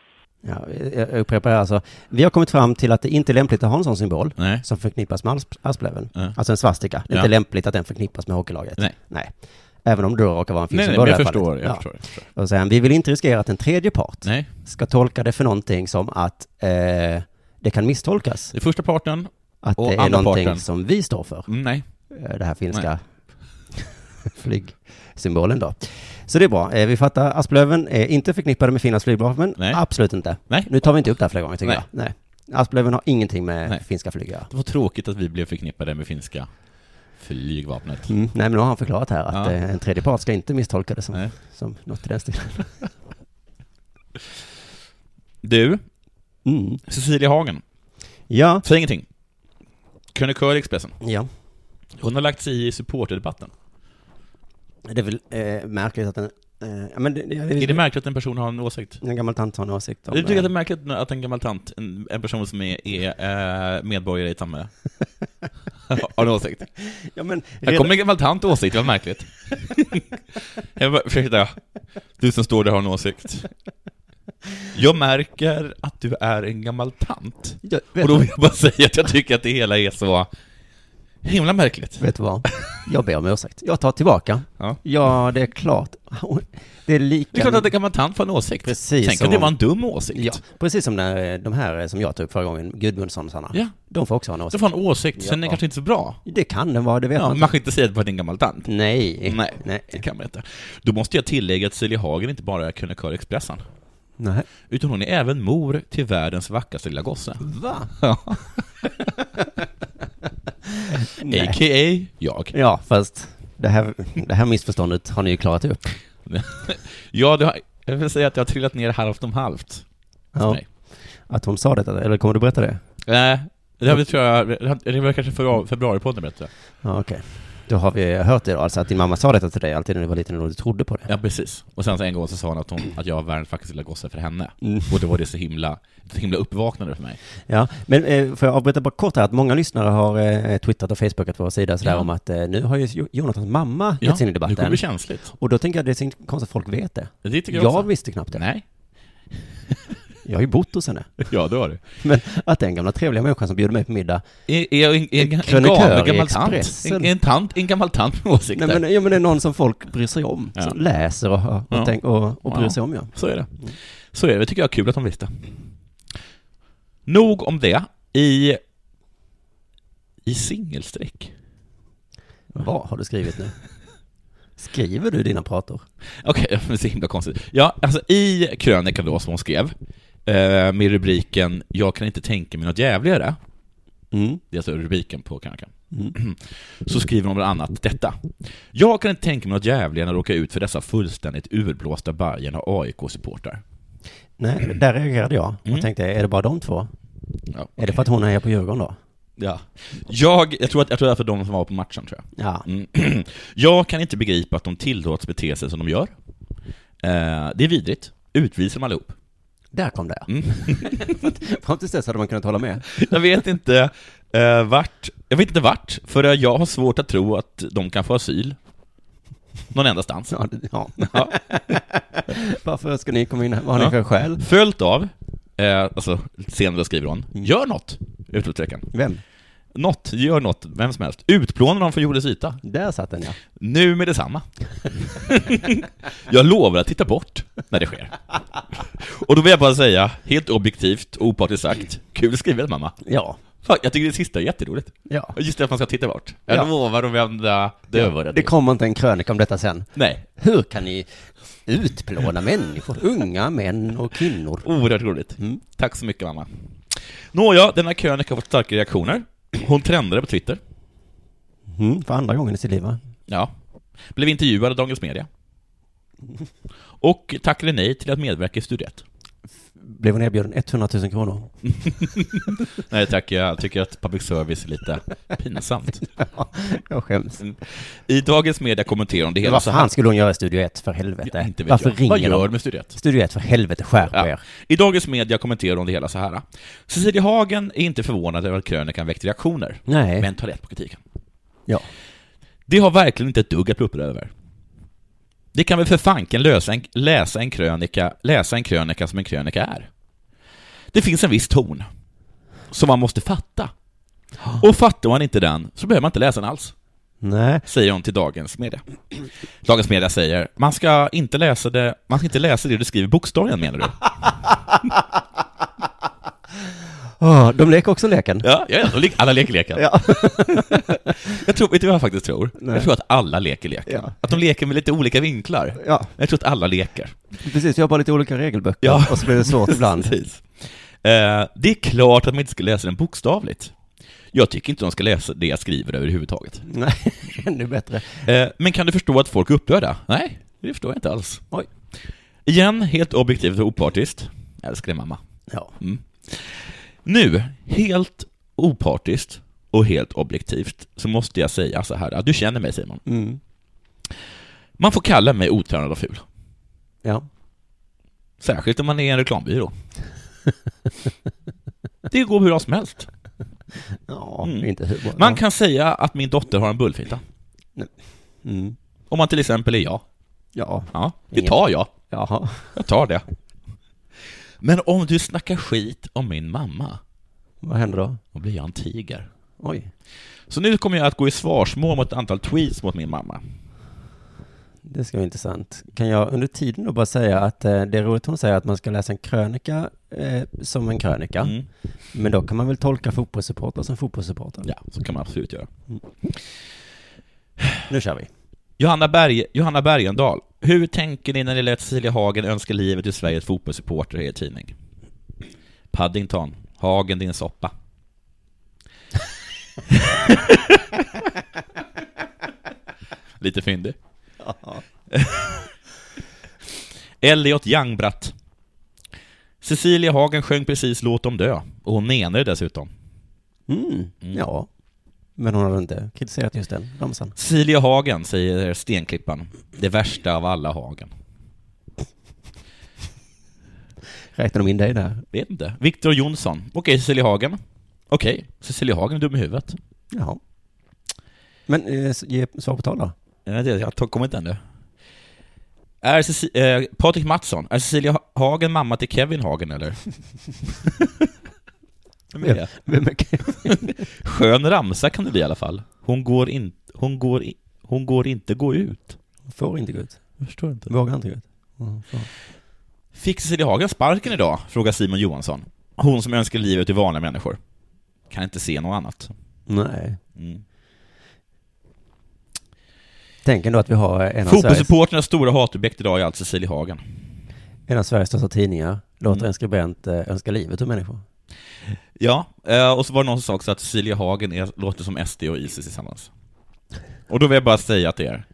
[SPEAKER 2] Ja, jag jag upprepar det alltså. Vi har kommit fram till att det inte är lämpligt att ha en sån symbol
[SPEAKER 4] Nej.
[SPEAKER 2] som förknippas med asp- asplöven.
[SPEAKER 4] Ja.
[SPEAKER 2] Alltså en svastika. Det är inte
[SPEAKER 4] Ja.
[SPEAKER 2] lämpligt att den förknippas med hockeylaget.
[SPEAKER 4] Nej.
[SPEAKER 2] Även om det då råkar vara en
[SPEAKER 4] Nej,
[SPEAKER 2] finsk
[SPEAKER 4] nej, men
[SPEAKER 2] symbol i
[SPEAKER 4] jag
[SPEAKER 2] det här fallet.
[SPEAKER 4] förstår. Jag
[SPEAKER 2] Ja.
[SPEAKER 4] förstår. Jag förstår.
[SPEAKER 2] Och sen, vi vill inte riskera att en tredje part
[SPEAKER 4] Nej.
[SPEAKER 2] ska tolka det för någonting som att eh, det kan misstolkas.
[SPEAKER 4] Det är första parten.
[SPEAKER 2] Att
[SPEAKER 4] Och
[SPEAKER 2] det är
[SPEAKER 4] andra
[SPEAKER 2] någonting
[SPEAKER 4] parten.
[SPEAKER 2] som vi står för.
[SPEAKER 4] Mm, nej.
[SPEAKER 2] eh, det här finska [laughs] flygsymbolen då. Så det är bra. Eh, Vi fattar, Asplöven är inte förknippade med Finlands flygvapen.
[SPEAKER 4] Nej.
[SPEAKER 2] Absolut inte.
[SPEAKER 4] Nej.
[SPEAKER 2] Nu tar vi inte upp det här fler gånger tycker
[SPEAKER 4] Nej.
[SPEAKER 2] jag. Nej. Asplöven har ingenting med
[SPEAKER 4] Nej.
[SPEAKER 2] finska flyg att göra.
[SPEAKER 4] Det var tråkigt att vi blev förknippade med finska flygvapnet.
[SPEAKER 2] Mm. Nej, men nu har han förklarat här att
[SPEAKER 4] Ja.
[SPEAKER 2] eh, en tredje part ska inte misstolka det som,
[SPEAKER 4] Nej.
[SPEAKER 2] som något i den stilen.
[SPEAKER 4] Du,
[SPEAKER 2] Mm.
[SPEAKER 4] Cecilia Hagen.
[SPEAKER 2] Ja,
[SPEAKER 4] Säg ingenting. Krönikör i Expressen.
[SPEAKER 2] ja.
[SPEAKER 4] Hon har lagt sig i supporterdebatten.
[SPEAKER 2] Det är väl eh, märkligt att en... Eh, ja, men det, det,
[SPEAKER 4] Är det märkligt att en person har en åsikt?
[SPEAKER 2] en gammal tant har en åsikt om...
[SPEAKER 4] Du tycker att det
[SPEAKER 2] eh,
[SPEAKER 4] är märkligt att en gammal tant, en, en person som är, är eh, medborgare i ett [laughs] samhälle, har en åsikt?
[SPEAKER 2] ja, men,
[SPEAKER 4] Här
[SPEAKER 2] redan-
[SPEAKER 4] kommer en gammal tant och åsikt, vad [laughs] märkligt. jag bara, ursäkta, du som står där har en åsikt. Jag märker att du är en gammal tant.
[SPEAKER 2] Ja,
[SPEAKER 4] Och
[SPEAKER 2] vet,
[SPEAKER 4] då vill jag bara säga att jag tycker att det hela är så himla märkligt.
[SPEAKER 2] vet du vad? Jag ber om ursäkt. Jag tar tillbaka.
[SPEAKER 4] Ja.
[SPEAKER 2] Ja, det är klart. Det är lika...
[SPEAKER 4] Det är klart att en gammal tant får en åsikt.
[SPEAKER 2] Precis
[SPEAKER 4] Tänk
[SPEAKER 2] som
[SPEAKER 4] om det
[SPEAKER 2] om-
[SPEAKER 4] var en dum åsikt.
[SPEAKER 2] Ja, precis som när eh, de här eh, som jag tog upp förra gången, Gudmundsson och sådana.
[SPEAKER 4] Ja.
[SPEAKER 2] De får också ha en
[SPEAKER 4] Så
[SPEAKER 2] åsikt.
[SPEAKER 4] får han en åsikt, sen är den
[SPEAKER 2] Ja.
[SPEAKER 4] kanske inte så bra.
[SPEAKER 2] Det kan den vara, det vet
[SPEAKER 4] Ja,
[SPEAKER 2] man
[SPEAKER 4] man kan inte säga att det är en gammal tant.
[SPEAKER 2] inte. Nej.
[SPEAKER 4] Nej,
[SPEAKER 2] Nej.
[SPEAKER 4] det kan man inte. Då måste jag tillägga att Cecilia Hagen inte bara är krönikör i Expressen,
[SPEAKER 2] Nej.
[SPEAKER 4] utan hon är även mor till världens vackraste lilla gosse.
[SPEAKER 2] Va? [laughs] Nej.
[SPEAKER 4] A.k.a. jag.
[SPEAKER 2] Ja, fast det här, det här missförståndet har ni ju klarat upp.
[SPEAKER 4] Ja, det har, jag vill säga att jag har trillat ner halvt om halvt.
[SPEAKER 2] Ja.
[SPEAKER 4] Nej.
[SPEAKER 2] Att hon sa detta, eller kommer du berätta det?
[SPEAKER 4] Nej, det här tror jag, det var kanske februari- februaripodden bättre.
[SPEAKER 2] Ja, okej. Då har vi hört det då, alltså att din mamma sa detta till dig alltid när du var liten och du trodde på det.
[SPEAKER 4] Ja, precis. Och sen så en gång så sa hon att, hon, att jag var världens vackraste lilla gosse för henne.
[SPEAKER 2] Mm.
[SPEAKER 4] Och då var det så himla, så himla uppvaknande för mig.
[SPEAKER 2] Ja, men eh, får jag avbryta bara kort här att många lyssnare har eh, twittrat och facebookat på vår sida sådär
[SPEAKER 4] Ja.
[SPEAKER 2] om att eh, nu har ju Jo- Jonathans mamma gett sig in i
[SPEAKER 4] nu kommer
[SPEAKER 2] debatten.
[SPEAKER 4] det känsligt.
[SPEAKER 2] Och då tänker jag att det är så inte konstigt att folk vet det.
[SPEAKER 4] Det tycker jag,
[SPEAKER 2] Jag
[SPEAKER 4] också.
[SPEAKER 2] visste knappt det.
[SPEAKER 4] Nej.
[SPEAKER 2] Jag har ju bott hos henne. [laughs]
[SPEAKER 4] Ja, det var det.
[SPEAKER 2] Men att den gamla trevliga människan som bjöd mig på middag.
[SPEAKER 4] Är, är, är, är, är, är, en,
[SPEAKER 2] Krönikör
[SPEAKER 4] gammal- en
[SPEAKER 2] i
[SPEAKER 4] gammal tant?
[SPEAKER 2] Expressen.
[SPEAKER 4] En, en tant? En gammal tant med åsikter?
[SPEAKER 2] Nej men, ja, men det är någon som folk bryr sig om.
[SPEAKER 4] Ja.
[SPEAKER 2] Som läser och, och,
[SPEAKER 4] Ja.
[SPEAKER 2] tänk, och, och bryr
[SPEAKER 4] Ja.
[SPEAKER 2] sig om ja.
[SPEAKER 4] Så är det. Så är det. Det tycker jag är kul att de visste. Nog om det. I, i singelstreck.
[SPEAKER 2] Vad har du skrivit nu? Skriver du dina prator?
[SPEAKER 4] Okej, [laughs] okay, men så himla konstigt. Ja, alltså i krönikan då som hon skrev, eh, med rubriken ”Jag kan inte tänka mig något jävligare”,
[SPEAKER 2] Mm.
[SPEAKER 4] det är alltså rubriken på krönikan,
[SPEAKER 2] Mm.
[SPEAKER 4] [clears throat] så skriver hon bland annat detta. ”Jag kan inte tänka mig något jävligare än att råka ut för dessa fullständigt urblåsta Bajen och AIK-supportrar.”
[SPEAKER 2] Nej, där reagerade jag och
[SPEAKER 4] Mm.
[SPEAKER 2] tänkte, är det bara de två?
[SPEAKER 4] ja,
[SPEAKER 2] Är det för att hon är på Djurgården då?
[SPEAKER 4] ja. Jag, jag, tror att, jag tror att det är för de som var på matchen, tror jag.
[SPEAKER 2] Ja.
[SPEAKER 4] Mm. [clears throat] Jag kan inte begripa att de tillåts bete sig som de gör. Eh, det är vidrigt. Utvisa dem allihop.
[SPEAKER 2] Där kom det.
[SPEAKER 4] Mm.
[SPEAKER 2] Fram tills dess hade man kunnat hålla med.
[SPEAKER 4] Jag vet inte eh, vart, jag vet inte vart, för jag har svårt att tro att de kan få asyl. Någon endastans.
[SPEAKER 2] [laughs] Ja, det- ja.
[SPEAKER 4] Ja.
[SPEAKER 2] Varför ska ni komma in här? Vad har ni
[SPEAKER 4] Ja.
[SPEAKER 2] för skäl?
[SPEAKER 4] Följt av, eh, alltså senare skriver hon, gör något! Utropstecken.
[SPEAKER 2] Vem?
[SPEAKER 4] Något, gör något, vem som helst. Utplåna dem från jordens yta.
[SPEAKER 2] Där satt den ja.
[SPEAKER 4] Nu med detsamma. [laughs] jag lovar att titta bort när det sker. Och då vill jag bara säga, helt objektivt och opartiskt sagt, kul skrivet mamma.
[SPEAKER 2] Ja.
[SPEAKER 4] Fan, jag tycker det sista är jätteroligt.
[SPEAKER 2] Ja.
[SPEAKER 4] Just det, att man ska titta bort. Jag
[SPEAKER 2] Ja.
[SPEAKER 4] lovar att vända dövörat
[SPEAKER 2] Det
[SPEAKER 4] till.
[SPEAKER 2] kommer inte en krönika om detta sen.
[SPEAKER 4] Nej,
[SPEAKER 2] Hur kan ni utplåna människor? Unga män och kvinnor.
[SPEAKER 4] oerhört roligt.
[SPEAKER 2] Mm.
[SPEAKER 4] Tack så mycket mamma. Nåja, denna krönika har fått starka reaktioner. Hon trendade på Twitter.
[SPEAKER 2] Mm, för andra gången i sitt liv va?
[SPEAKER 4] Ja. Blev intervjuad av Dagens Media. Och tackade nej till att medverka i Studio 1.
[SPEAKER 2] Blev hon erbjuden 100 000 kronor.
[SPEAKER 4] Nej tack, jag tycker att public service är lite pinsamt.
[SPEAKER 2] Jag skäms.
[SPEAKER 4] I dagens media kommenterar hon det hela
[SPEAKER 2] Vad
[SPEAKER 4] så här.
[SPEAKER 2] fan skulle hon göra i Studio 1 för helvete?
[SPEAKER 4] Ja, inte vet
[SPEAKER 2] Varför
[SPEAKER 4] jag. Vad
[SPEAKER 2] ringer
[SPEAKER 4] gör
[SPEAKER 2] de?
[SPEAKER 4] du med Studio 1?
[SPEAKER 2] Studio 1 för helvete, skärp
[SPEAKER 4] Ja.
[SPEAKER 2] er.
[SPEAKER 4] I dagens media kommenterar hon det hela så här. Cecilia Hagen är inte förvånad över att krönikan väckt reaktioner,
[SPEAKER 2] Nej.
[SPEAKER 4] men tar lätt på kritiken.
[SPEAKER 2] Ja.
[SPEAKER 4] Det har verkligen inte ett dugg att bli upprörd över. Det kan väl för fanken lösa en, läsa, en krönika, läsa en krönika som en krönika är. Det finns en viss ton som man måste fatta. Och fattar man inte den så behöver man inte läsa den alls,
[SPEAKER 2] Nej.
[SPEAKER 4] säger hon till Dagens Media. Dagens Media säger, man ska inte läsa det, man ska inte läsa det du skriver bokstavligen menar du?
[SPEAKER 2] Åh, de leker också leken.
[SPEAKER 4] Ja, ja, ja, alla leker leken.
[SPEAKER 2] Ja. [laughs]
[SPEAKER 4] Jag tror, vet du vad jag faktiskt tror?
[SPEAKER 2] Nej.
[SPEAKER 4] Jag tror att alla leker leken.
[SPEAKER 2] Ja.
[SPEAKER 4] Att de leker med lite olika vinklar.
[SPEAKER 2] Ja.
[SPEAKER 4] Jag tror att alla leker.
[SPEAKER 2] Precis, vi har bara lite olika regelböcker
[SPEAKER 4] Ja.
[SPEAKER 2] och så blir
[SPEAKER 4] [laughs]
[SPEAKER 2] det svårt [laughs] ibland.
[SPEAKER 4] Precis. Eh, det är klart att man inte ska läsa den bokstavligt. Jag tycker inte de ska läsa det jag skriver överhuvudtaget.
[SPEAKER 2] Nej, [laughs] ännu bättre.
[SPEAKER 4] Eh, men kan du förstå att folk är upprörda? Nej, det förstår jag inte alls.
[SPEAKER 2] Oj.
[SPEAKER 4] Igen, helt objektivt och opartiskt. Jag älskar det mamma.
[SPEAKER 2] Ja.
[SPEAKER 4] Nu, helt opartiskt och helt objektivt, så måste jag säga så här. Du känner mig Simon.
[SPEAKER 2] Mm.
[SPEAKER 4] Man får kalla mig otränad och ful.
[SPEAKER 2] Ja.
[SPEAKER 4] Särskilt om man är en
[SPEAKER 2] [laughs]
[SPEAKER 4] reklambyrå. Det går hur bra som helst.
[SPEAKER 2] Ja,
[SPEAKER 4] Mm.
[SPEAKER 2] det är inte hur bra.
[SPEAKER 4] Man kan säga att min dotter har en bullfitta.
[SPEAKER 2] Mm.
[SPEAKER 4] Om man till exempel är jag.
[SPEAKER 2] Ja.
[SPEAKER 4] Ja, det tar jag.
[SPEAKER 2] Jaha.
[SPEAKER 4] Jag tar det. Men om du snackar skit om min mamma,
[SPEAKER 2] Vad händer då?
[SPEAKER 4] då blir jag en tiger.
[SPEAKER 2] Oj.
[SPEAKER 4] Så nu kommer jag att gå i svarsmål mot ett antal tweets mot min mamma.
[SPEAKER 2] Det ska vara intressant. Kan jag under tiden då bara säga att eh, det är roligt hon säger att man ska läsa en krönika eh, som en krönika.
[SPEAKER 4] Mm.
[SPEAKER 2] Men då kan man väl tolka fotbollssupportrar som fotbollssupportrar.
[SPEAKER 4] Ja, så kan man absolut göra.
[SPEAKER 2] Nu kör vi.
[SPEAKER 4] Johanna, Berg, Johanna Bergendahl, hur tänker ni när ni lät Cecilia Hagen önska livet till Sveriges fotbollssupporter i er tidning? Paddington, Hagen din soppa. [laughs] Lite fyndig. [laughs] Elliot Youngbratt. Cecilia Hagen sjöng precis Låt dem dö, och hon menade det dessutom.
[SPEAKER 2] Mm. Ja. Men hon har inte kritiserat just den ramsan.
[SPEAKER 4] Cecilia Hagen, säger Stenklippan. Det värsta av alla Hagen.
[SPEAKER 2] Räknar de in dig där?
[SPEAKER 4] Vet inte. Viktor Jonsson. Okej, Cecilia Hagen. Okej, Cecilia Hagen är dum i huvudet.
[SPEAKER 2] Jaha. Men eh, s- ge svar på tal då.
[SPEAKER 4] Eh, det- Jag har kommit ännu. Är Ceci- eh, Patrik Mattsson, är Cecilia Ha- Hagen mamma till Kevin Hagen [laughs] eller? Vem är det?
[SPEAKER 2] Vem är
[SPEAKER 4] Skön ramsa kan det bli i alla fall. Hon går, in, hon går, i, hon går inte gå ut.
[SPEAKER 2] Får inte gå ut.
[SPEAKER 4] Jag förstår inte.
[SPEAKER 2] Vågar inte gå ut.
[SPEAKER 4] Fick Cecilia Hagen sparken idag? Frågar Simon Johansson. Hon som önskar livet till vanliga Mm. människor. Kan inte se något annat.
[SPEAKER 2] Nej.
[SPEAKER 4] Mm.
[SPEAKER 2] Tänk ändå att vi har en av, Sveriges,
[SPEAKER 4] Fotbollssupporternas stora hatobjekt idag är alltså Cecilie Hagen.
[SPEAKER 2] en av Sveriges största tidningar låter
[SPEAKER 4] Mm.
[SPEAKER 2] en skribent eh, önska livet ur människor.
[SPEAKER 4] Ja, eh, och så var det någon som sa också att Cecilia Hagen är, låter som SD och ISIS tillsammans. Och då vill jag bara säga till er.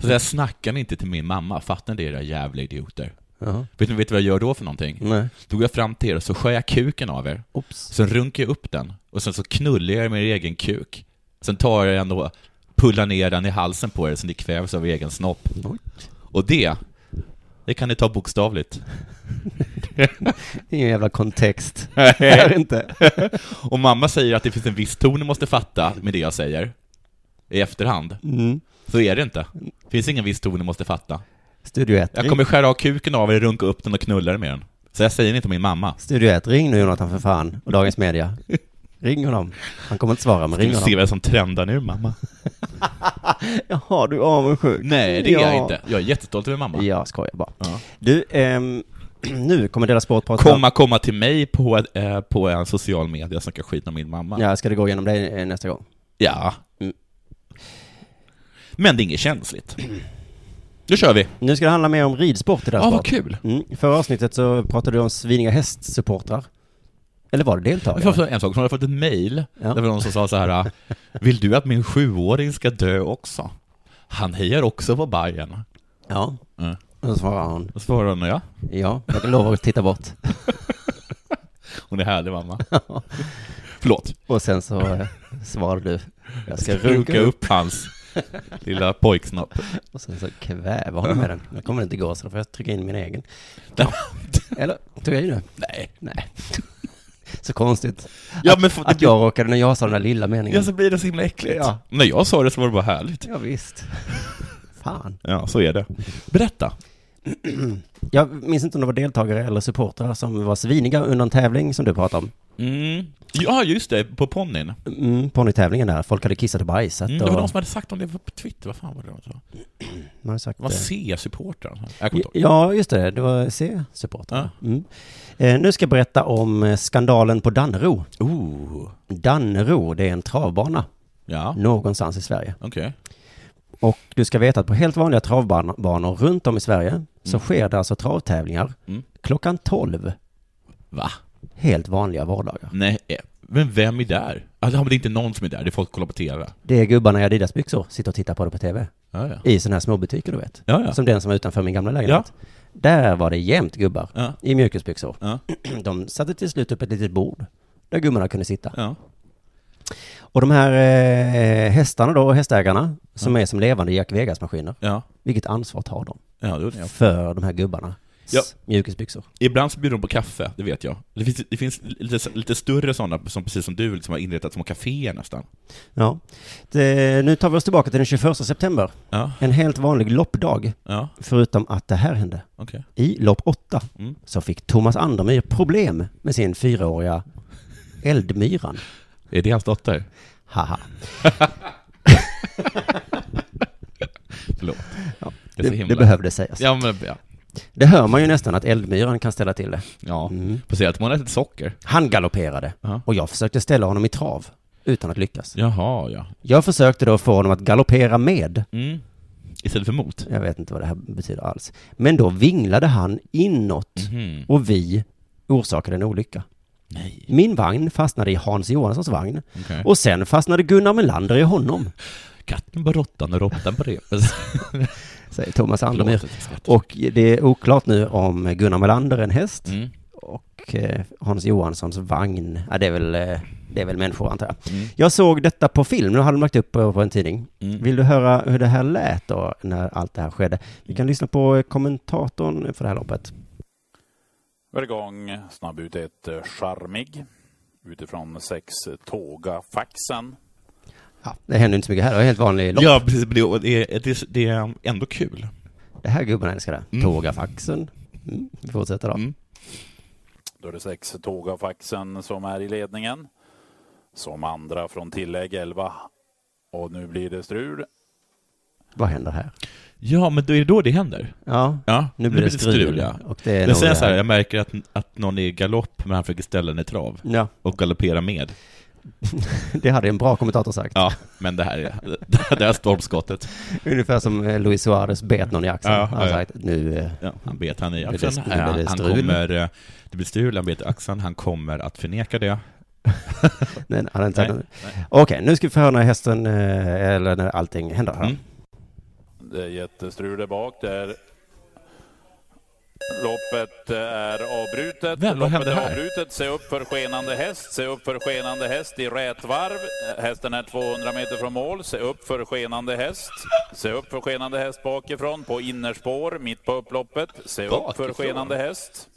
[SPEAKER 4] Så där snackar ni inte till min mamma, fattar ni det era jävla idioter?
[SPEAKER 2] Jaha.
[SPEAKER 4] Vet ni, vet ni vad jag gör då för någonting?
[SPEAKER 2] Nej.
[SPEAKER 4] Då går jag fram till er och så skär jag kuken av er.
[SPEAKER 2] Oops.
[SPEAKER 4] Sen runkar jag upp den och sen så knullar jag er med er egen kuk. Sen tar jag den och pullar ner den i halsen på er så ni kvävs av er egen snopp.
[SPEAKER 2] Oj.
[SPEAKER 4] Och det, det kan ni ta bokstavligt.
[SPEAKER 2] Ingen
[SPEAKER 4] [laughs]
[SPEAKER 2] jävla kontext. Här inte.
[SPEAKER 4] Och mamma säger att det finns en viss ton du måste fatta med det jag säger i efterhand.
[SPEAKER 2] Mm.
[SPEAKER 4] Så är det inte. Det finns ingen viss ton du måste fatta.
[SPEAKER 2] Studio 1.
[SPEAKER 4] Jag kommer skära av kuken av er, runka upp den och knulla er med den. Så jag säger inte till min mamma.
[SPEAKER 2] Studio 1, ring nu Jonathan för fan. Och Dagens Media. Ring honom. Han kommer inte svara, men
[SPEAKER 4] Ska
[SPEAKER 2] ring
[SPEAKER 4] vi se
[SPEAKER 2] honom.
[SPEAKER 4] vad som trendar nu mamma?
[SPEAKER 2] Jaha, du är avundsjuk.
[SPEAKER 4] Nej, det är jag inte. Jag är jättestolt över mamma.
[SPEAKER 2] Jag skojar bara.
[SPEAKER 4] Ja.
[SPEAKER 2] Du, ehm, [clears throat] nu kommer Dela Sport prata
[SPEAKER 4] Komma, komma till mig på, ett, eh, på en social media och snacka skit om min mamma.
[SPEAKER 2] Ja, ska det gå igenom dig eh, nästa gång?
[SPEAKER 4] Ja.
[SPEAKER 2] Mm.
[SPEAKER 4] Men det är inget känsligt. Nu kör vi!
[SPEAKER 2] Nu ska det handla mer om ridsport i det
[SPEAKER 4] Ja,
[SPEAKER 2] här
[SPEAKER 4] vad
[SPEAKER 2] sport.
[SPEAKER 4] kul!
[SPEAKER 2] Mm. I Förra avsnittet så pratade du om Svinninga hästsupportrar. Eller var det
[SPEAKER 4] Jag får
[SPEAKER 2] deltagare?
[SPEAKER 4] också en sak, som har fått ett mejl,
[SPEAKER 2] Ja.
[SPEAKER 4] där var någon som sa så här "Ah, Vill du att min sjuåring ska dö också? Han hejar också på Bayern.
[SPEAKER 2] Ja.
[SPEAKER 4] Mm.
[SPEAKER 2] Och så svarade hon,
[SPEAKER 4] Och svarade hon ja.
[SPEAKER 2] ja, jag lovar att titta bort.
[SPEAKER 4] Hon är härlig
[SPEAKER 2] [laughs]
[SPEAKER 4] mamma. Förlåt.
[SPEAKER 2] Och sen så eh, svarade du, jag ska
[SPEAKER 4] Runka
[SPEAKER 2] runka upp.
[SPEAKER 4] upp hans lilla
[SPEAKER 2] [laughs]
[SPEAKER 4] pojksnopp.
[SPEAKER 2] Och sen så kväva honom med den. Nu kommer det inte gå, så då får jag trycka in min egen.
[SPEAKER 4] [laughs] Ja.
[SPEAKER 2] Eller, tog jag i det?
[SPEAKER 4] Nej.
[SPEAKER 2] Nej. [laughs] Så konstigt.
[SPEAKER 4] Ja men för,
[SPEAKER 2] Att jag råkade, när jag sa den där lilla meningen.
[SPEAKER 4] ja, så blir det så himla äckligt.
[SPEAKER 2] Ja.
[SPEAKER 4] När jag sa det så var det bara härligt.
[SPEAKER 2] Ja, visst. Fan.
[SPEAKER 4] Ja, så är det. Berätta.
[SPEAKER 2] Jag minns inte om det var deltagare eller supportrar som var sviniga under en tävling som du pratade om.
[SPEAKER 4] Mm. Ja, just det, på ponnyn.
[SPEAKER 2] Mm, ponnytävlingen där, folk hade kissat och bajsat
[SPEAKER 4] Mm, det var
[SPEAKER 2] och...
[SPEAKER 4] någon som hade sagt om det på Twitter, vad fan var det de sa?
[SPEAKER 2] man hade sagt,
[SPEAKER 4] Det var
[SPEAKER 2] eh,
[SPEAKER 4] C-supportrar. Jag kommer inte ihåg.
[SPEAKER 2] Ja, just det. Det var C-supportrarna. Mm. Eh, nu ska jag berätta om eh, skandalen på Dannero.
[SPEAKER 4] Ooh.
[SPEAKER 2] Dannero, det är en travbana
[SPEAKER 4] Ja,
[SPEAKER 2] någonstans i Sverige.
[SPEAKER 4] okej.
[SPEAKER 2] Och du ska veta att på helt vanliga travbanor runt om i Sverige så sker det alltså travtävlingar
[SPEAKER 4] Mm.
[SPEAKER 2] klockan 12,
[SPEAKER 4] Va?
[SPEAKER 2] helt vanliga vardagar.
[SPEAKER 4] Nej, eh, men vem är där? Ja, det är inte någon som är där, det är folk som kollar på TV.
[SPEAKER 2] Det är gubbarna i Adidas-byxor, sitter och tittar på det på tv.
[SPEAKER 4] Ja, ja.
[SPEAKER 2] I sådana här småbutiker du vet.
[SPEAKER 4] Ja, ja.
[SPEAKER 2] Som den som var utanför min gamla lägenhet. Där var det jämt gubbar.
[SPEAKER 4] Ja.
[SPEAKER 2] I mjukisbyxor.
[SPEAKER 4] Ja.
[SPEAKER 2] [clears throat] De satte till slut upp ett litet bord. Där gubbarna kunde sitta.
[SPEAKER 4] Ja.
[SPEAKER 2] Och de här eh, hästarna då, hästägarna, som är som levande Jack Vegas-maskiner.
[SPEAKER 4] Ja.
[SPEAKER 2] Vilket ansvar tar de
[SPEAKER 4] Ja, det undrar jag.
[SPEAKER 2] för de här gubbarna?
[SPEAKER 4] Ja.
[SPEAKER 2] Mjukisbyxor.
[SPEAKER 4] Ibland så bjuder de på kaffe, det vet jag. Det finns, det finns lite, lite större sådana, som precis som du, liksom har inrättat små kaféer nästan.
[SPEAKER 2] Ja. Det, nu tar vi oss tillbaka till den 21 september.
[SPEAKER 4] Ja,
[SPEAKER 2] En helt vanlig loppdag.
[SPEAKER 4] ja,
[SPEAKER 2] Förutom att det här hände.
[SPEAKER 4] okej.
[SPEAKER 2] I lopp åtta
[SPEAKER 4] Mm.
[SPEAKER 2] så fick Thomas Andermyr problem med sin fyraåriga Eldmyran.
[SPEAKER 4] Är det hans dotter?
[SPEAKER 2] Haha.
[SPEAKER 4] Förlåt.
[SPEAKER 2] Ja,
[SPEAKER 4] Det är så
[SPEAKER 2] det,
[SPEAKER 4] himla-
[SPEAKER 2] det behövde sägas.
[SPEAKER 4] Ja, men ja.
[SPEAKER 2] Det hör man ju nästan att Eldmyran kan ställa till det.
[SPEAKER 4] Ja,
[SPEAKER 2] Mm.
[SPEAKER 4] speciellt om hon har ätit socker.
[SPEAKER 2] Han galopperade
[SPEAKER 4] Ja.
[SPEAKER 2] och jag försökte ställa honom i trav utan att lyckas.
[SPEAKER 4] Jaha, ja.
[SPEAKER 2] Jag försökte då få honom att galoppera med.
[SPEAKER 4] Mm. Istället för mot.
[SPEAKER 2] Jag vet inte vad det här betyder alls. Men då vinglade han inåt
[SPEAKER 4] Mhm.
[SPEAKER 2] och vi orsakade en olycka.
[SPEAKER 4] Nej.
[SPEAKER 2] Min vagn fastnade i Hans Johanssons vagn
[SPEAKER 4] Okej.
[SPEAKER 2] och sen fastnade Gunnar Melander i honom,
[SPEAKER 4] Katten på råttan och råttan på [laughs] repet.
[SPEAKER 2] säger Thomas Andermyr.
[SPEAKER 4] Förlåt att jag skrattar.
[SPEAKER 2] Och det är oklart nu om Gunnar Melander är en häst
[SPEAKER 4] Mm.
[SPEAKER 2] och eh, Hans Johanssons vagn. Ja, det är väl, eh, det är väl människor antar jag.
[SPEAKER 4] Mm.
[SPEAKER 2] Jag såg detta på film, nu hade de lagt upp på på en tidning.
[SPEAKER 4] Mm.
[SPEAKER 2] Vill du höra hur det här lät då, när allt det här skedde? Vi kan lyssna på eh, kommentatorn för det här loppet.
[SPEAKER 6] Övergång, snabb ut ett eh, charmig utifrån sex eh, tåga faxen.
[SPEAKER 2] Ja, det händer inte så mycket här, det var helt vanlig lopp.
[SPEAKER 4] Ja, precis. men Det, det, det, det är ändå kul.
[SPEAKER 2] Det här gubben älskar det.
[SPEAKER 4] Mm.
[SPEAKER 2] Tågafaxen. Mm, vi fortsätter då.
[SPEAKER 4] Mm.
[SPEAKER 6] Då är det sex tåga faxen som är i ledningen. Som andra från tillägg 11. Och nu blir det strul.
[SPEAKER 2] Vad händer här?
[SPEAKER 4] Ja, men då är det då det händer.
[SPEAKER 2] Ja,
[SPEAKER 4] Ja,
[SPEAKER 2] nu blir det strul.
[SPEAKER 4] ja.
[SPEAKER 2] Och det är
[SPEAKER 4] Men
[SPEAKER 2] nog
[SPEAKER 4] sen
[SPEAKER 2] det
[SPEAKER 4] så här, jag märker att, att någon är i galopp, men han försöker ställa den i trav
[SPEAKER 2] Ja,
[SPEAKER 4] och galoppera med.
[SPEAKER 2] det hade en bra kommentator sagt.
[SPEAKER 4] Ja, men det här är, [laughs] det här är stormskottet.
[SPEAKER 2] Ungefär som eh, Luis Suarez bet någon i axeln.
[SPEAKER 4] Ja,
[SPEAKER 2] han
[SPEAKER 4] ja,
[SPEAKER 2] har
[SPEAKER 4] ja.
[SPEAKER 2] sagt nu... eh,
[SPEAKER 4] Ja, han bet han i
[SPEAKER 2] Blir
[SPEAKER 4] axeln.
[SPEAKER 2] det- blir
[SPEAKER 4] Eh,
[SPEAKER 2] det
[SPEAKER 4] han
[SPEAKER 2] strul?
[SPEAKER 4] kommer, eh, det blir strul, han bet i axeln, han kommer att förneka det.
[SPEAKER 2] Nej, han hade inte sagt
[SPEAKER 4] Nej,
[SPEAKER 2] något. Okej, nu ska vi få höra när hästen, eh, eller när allting händer. här.
[SPEAKER 4] Mm.
[SPEAKER 6] Det är jättestrul där bak. Där. Loppet eh, är avbrutet.
[SPEAKER 4] Vem, vad
[SPEAKER 6] Loppet
[SPEAKER 4] hände
[SPEAKER 6] är
[SPEAKER 4] här?
[SPEAKER 6] avbrutet. Se upp för skenande häst. Se upp för skenande häst i rätt varv. Eh, Hästen är 200 meter från mål. Se upp för skenande häst. Se upp för skenande häst bakifrån på innerspår mitt på upploppet. Se upp för
[SPEAKER 4] Bakifrån?
[SPEAKER 6] skenande häst.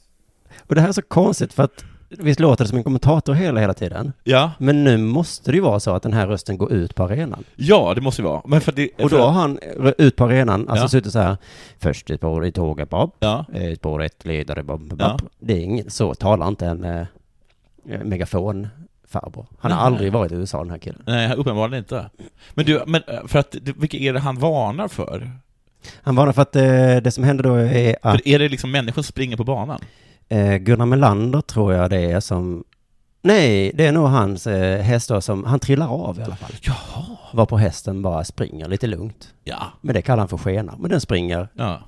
[SPEAKER 2] Och det här är så konstigt för att visst låter det som en kommentator hela, hela tiden.
[SPEAKER 4] Ja,
[SPEAKER 2] Men nu måste det ju vara så att den här rösten går ut på arenan.
[SPEAKER 4] ja, det måste ju vara. Men för det,
[SPEAKER 2] Och då
[SPEAKER 4] för,
[SPEAKER 2] har han eh, ut på arenan, alltså
[SPEAKER 4] Ja.
[SPEAKER 2] suttit så här. Först ut på i tåget, Bob.
[SPEAKER 4] Ja.
[SPEAKER 2] Eh, Ut på ett ledare, Bob. Bob.
[SPEAKER 4] Ja.
[SPEAKER 2] Det är ingen, så talar inte en eh, megafon farbror. Han har aldrig varit i USA den här killen.
[SPEAKER 4] Nej, uppenbarligen inte. Men du, men eh, för att, du- vilka är det han varnar för?
[SPEAKER 2] Han varnar för att eh, det som händer då är att
[SPEAKER 4] För är det liksom människor som springer på banan?
[SPEAKER 2] eh, Gunnar Melander tror jag det är som Nej, det är nog hans eh, häst då som, han trillar av i alla fall.
[SPEAKER 4] Jaha.
[SPEAKER 2] Var på hästen bara springer lite lugnt.
[SPEAKER 4] Ja.
[SPEAKER 2] Men det kallar han för skena. Men den springer,
[SPEAKER 4] ja.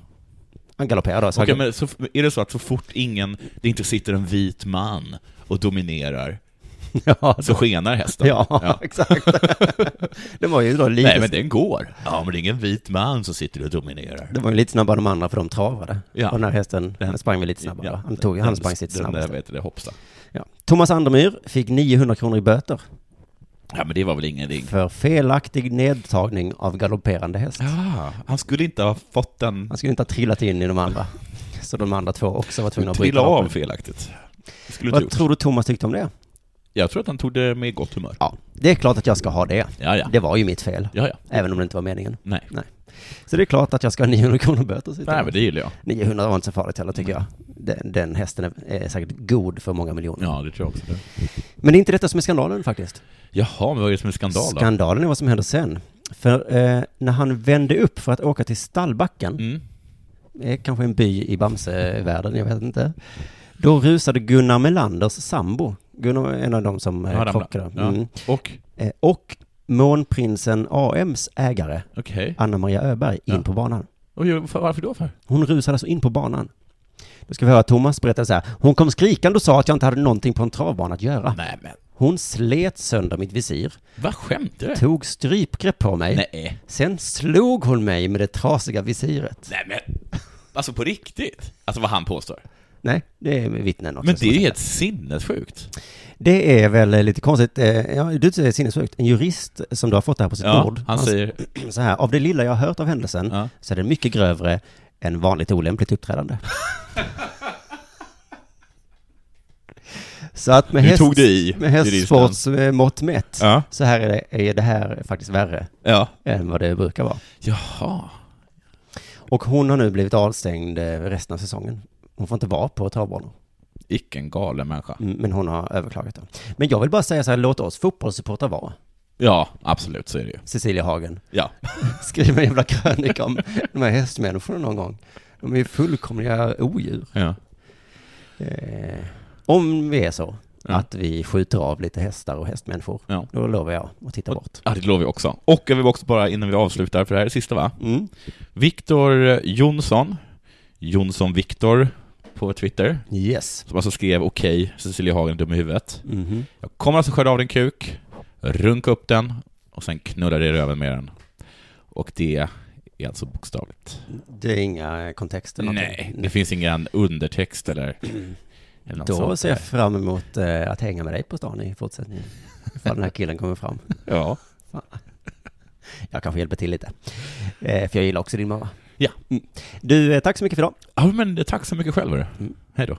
[SPEAKER 2] han galopperar då. Så
[SPEAKER 4] Okej,
[SPEAKER 2] han,
[SPEAKER 4] men så, f- är det så att så fort ingen, det inte sitter en vit man och dominerar,
[SPEAKER 2] [laughs] ja,
[SPEAKER 4] så skenar hästen?
[SPEAKER 2] Alltså, ja, [laughs] exakt. det var ju då lite,
[SPEAKER 4] Nej, men den går. Ja, men det är ingen vit man som sitter och dominerar.
[SPEAKER 2] det var ju lite snabbare än de andra för de travade.
[SPEAKER 4] Ja.
[SPEAKER 2] Och den här hästen,
[SPEAKER 4] Den-
[SPEAKER 2] den sprang väl lite snabbare.
[SPEAKER 4] Ja,
[SPEAKER 2] va? han, tog, han sprang sitt
[SPEAKER 4] den, Den,
[SPEAKER 2] snabbaste.
[SPEAKER 4] vet det, hoppsa.
[SPEAKER 2] Ja. Thomas Andermyr fick 900 kronor i böter
[SPEAKER 4] Ja, men det var väl ingenting.
[SPEAKER 2] för felaktig nedtagning av galopperande häst.
[SPEAKER 4] Ah, han skulle inte ha fått den
[SPEAKER 2] Han skulle inte ha trillat in i de andra. Så de andra två också var tvungna att bryta
[SPEAKER 4] trilla
[SPEAKER 2] loppet.
[SPEAKER 4] av felaktigt. Det skulle du
[SPEAKER 2] Vad
[SPEAKER 4] inte gjort.
[SPEAKER 2] tror du Thomas tyckte om det?
[SPEAKER 4] Jag tror att han tog det med gott humör.
[SPEAKER 2] Ja, det är klart att jag ska ha det.
[SPEAKER 4] Ja, ja.
[SPEAKER 2] Det var ju mitt fel.
[SPEAKER 4] Ja, ja.
[SPEAKER 2] Även om det inte var meningen.
[SPEAKER 4] Nej.
[SPEAKER 2] Nej. Så det är klart att jag ska ha 900 kronor böter. sitter
[SPEAKER 4] Nej,
[SPEAKER 2] jag.
[SPEAKER 4] men det gillar jag.
[SPEAKER 2] 900 var inte så farligt heller tycker jag. Den, den hästen är, är säkert god för många miljoner.
[SPEAKER 4] Ja, det tror jag också.
[SPEAKER 2] Men det är inte detta som är skandalen faktiskt.
[SPEAKER 4] Jaha, men vad är det som är skandal då?
[SPEAKER 2] Skandalen är vad som händer sen. För eh, när han vände upp för att åka till Stallbacken,
[SPEAKER 4] Mm.
[SPEAKER 2] eh, kanske en by i Bamsevärlden, jag vet inte. Då rusade Gunnar Melanders sambo, Gunnar var en av dem som
[SPEAKER 4] Ja,
[SPEAKER 2] eh,
[SPEAKER 4] ramla.
[SPEAKER 2] krockade.
[SPEAKER 4] Ja.
[SPEAKER 2] Mm.
[SPEAKER 4] Och,
[SPEAKER 2] Eh, och månprinsen AMs ägare,
[SPEAKER 4] okej.
[SPEAKER 2] Anna Maria Öberg, in
[SPEAKER 4] Ja.
[SPEAKER 2] på banan.
[SPEAKER 4] Och jag- för- Varför då för?
[SPEAKER 2] Hon rusade alltså in på banan. Då ska vi höra Thomas berätta så här. Hon kom skrikande och sa att jag inte hade någonting på en travbana att göra.
[SPEAKER 4] Nej, men.
[SPEAKER 2] Hon slet sönder mitt visir,
[SPEAKER 4] Vad skämtar du?
[SPEAKER 2] tog strypgrepp på mig.
[SPEAKER 4] Nej.
[SPEAKER 2] Sen slog hon mig med det trasiga visiret.
[SPEAKER 4] Nej, men. Alltså på riktigt? Alltså vad han påstår.
[SPEAKER 2] Nej, det är vittnen också.
[SPEAKER 4] Men Alltså, det
[SPEAKER 2] som
[SPEAKER 4] är
[SPEAKER 2] har
[SPEAKER 4] ju
[SPEAKER 2] sagt
[SPEAKER 4] helt sinnessjukt.
[SPEAKER 2] Det är väl eh, lite konstigt. eh, Ja, du säger sinnessjukt. En jurist som du har fått det här på sitt
[SPEAKER 4] Ja, Alltså,
[SPEAKER 2] bord.
[SPEAKER 4] han säger,
[SPEAKER 2] så här. Av det lilla jag har hört av händelsen
[SPEAKER 4] Ja.
[SPEAKER 2] så är det mycket grövre än vanligt olämpligt uppträdande. så att med,
[SPEAKER 4] Nu
[SPEAKER 2] häst,
[SPEAKER 4] tog du i,
[SPEAKER 2] med
[SPEAKER 4] juristen.
[SPEAKER 2] hästsports eh, mått mätt
[SPEAKER 4] Ja.
[SPEAKER 2] så här är det, är det här faktiskt värre
[SPEAKER 4] ja.
[SPEAKER 2] än vad det brukar vara.
[SPEAKER 4] Jaha.
[SPEAKER 2] Och hon har nu blivit avstängd eh, resten av säsongen. Hon får inte vara på travbanor.
[SPEAKER 4] Vilken galen människa.
[SPEAKER 2] Mm, Men hon har överklagat det. Men jag vill bara säga så här, låt oss fotbollssupportrar vara.
[SPEAKER 4] Ja, absolut så är det ju.
[SPEAKER 2] Cecilia Hagen.
[SPEAKER 4] Ja.
[SPEAKER 2] Skriv en jävla krönika om de här hästmänniskorna någon gång. De är ju fullkomliga odjur.
[SPEAKER 4] ja.
[SPEAKER 2] Eh, om vi är så
[SPEAKER 4] Ja.
[SPEAKER 2] att vi skjuter av lite hästar och hästmänniskor,
[SPEAKER 4] Ja.
[SPEAKER 2] då lovar jag att titta bort.
[SPEAKER 4] ja, det lovar vi också. Och jag vill också bara innan vi avslutar, för det här är sista va?
[SPEAKER 2] Mm.
[SPEAKER 4] Viktor Jonsson, Jonsson Viktor på Twitter,
[SPEAKER 2] Yes.
[SPEAKER 4] som alltså skrev okej, Cecilia Hagen är dum i huvudet.
[SPEAKER 2] Mhm.
[SPEAKER 4] Jag kommer alltså skörda av din kuk, runka upp den och sen knulla dig i röven med den. Och det är alltså bokstavligt.
[SPEAKER 2] Det är inga eh, kontexter. eller
[SPEAKER 4] Nej,
[SPEAKER 2] någonting.
[SPEAKER 4] det finns alltså ingen undertext eller, eller något
[SPEAKER 2] Mm. Då
[SPEAKER 4] sånt
[SPEAKER 2] ser jag
[SPEAKER 4] där.
[SPEAKER 2] fram emot eh, att hänga med dig på stan i fortsättningen. Ifall den här killen kommer fram.
[SPEAKER 4] Ja.
[SPEAKER 2] Jag kanske hjälper till lite. Eh, för jag gillar också din mamma.
[SPEAKER 4] Ja.
[SPEAKER 2] Mm. Du, eh, tack så mycket för idag.
[SPEAKER 4] ja, men tack så mycket själv. hörru.
[SPEAKER 2] Mm.
[SPEAKER 4] Hej då.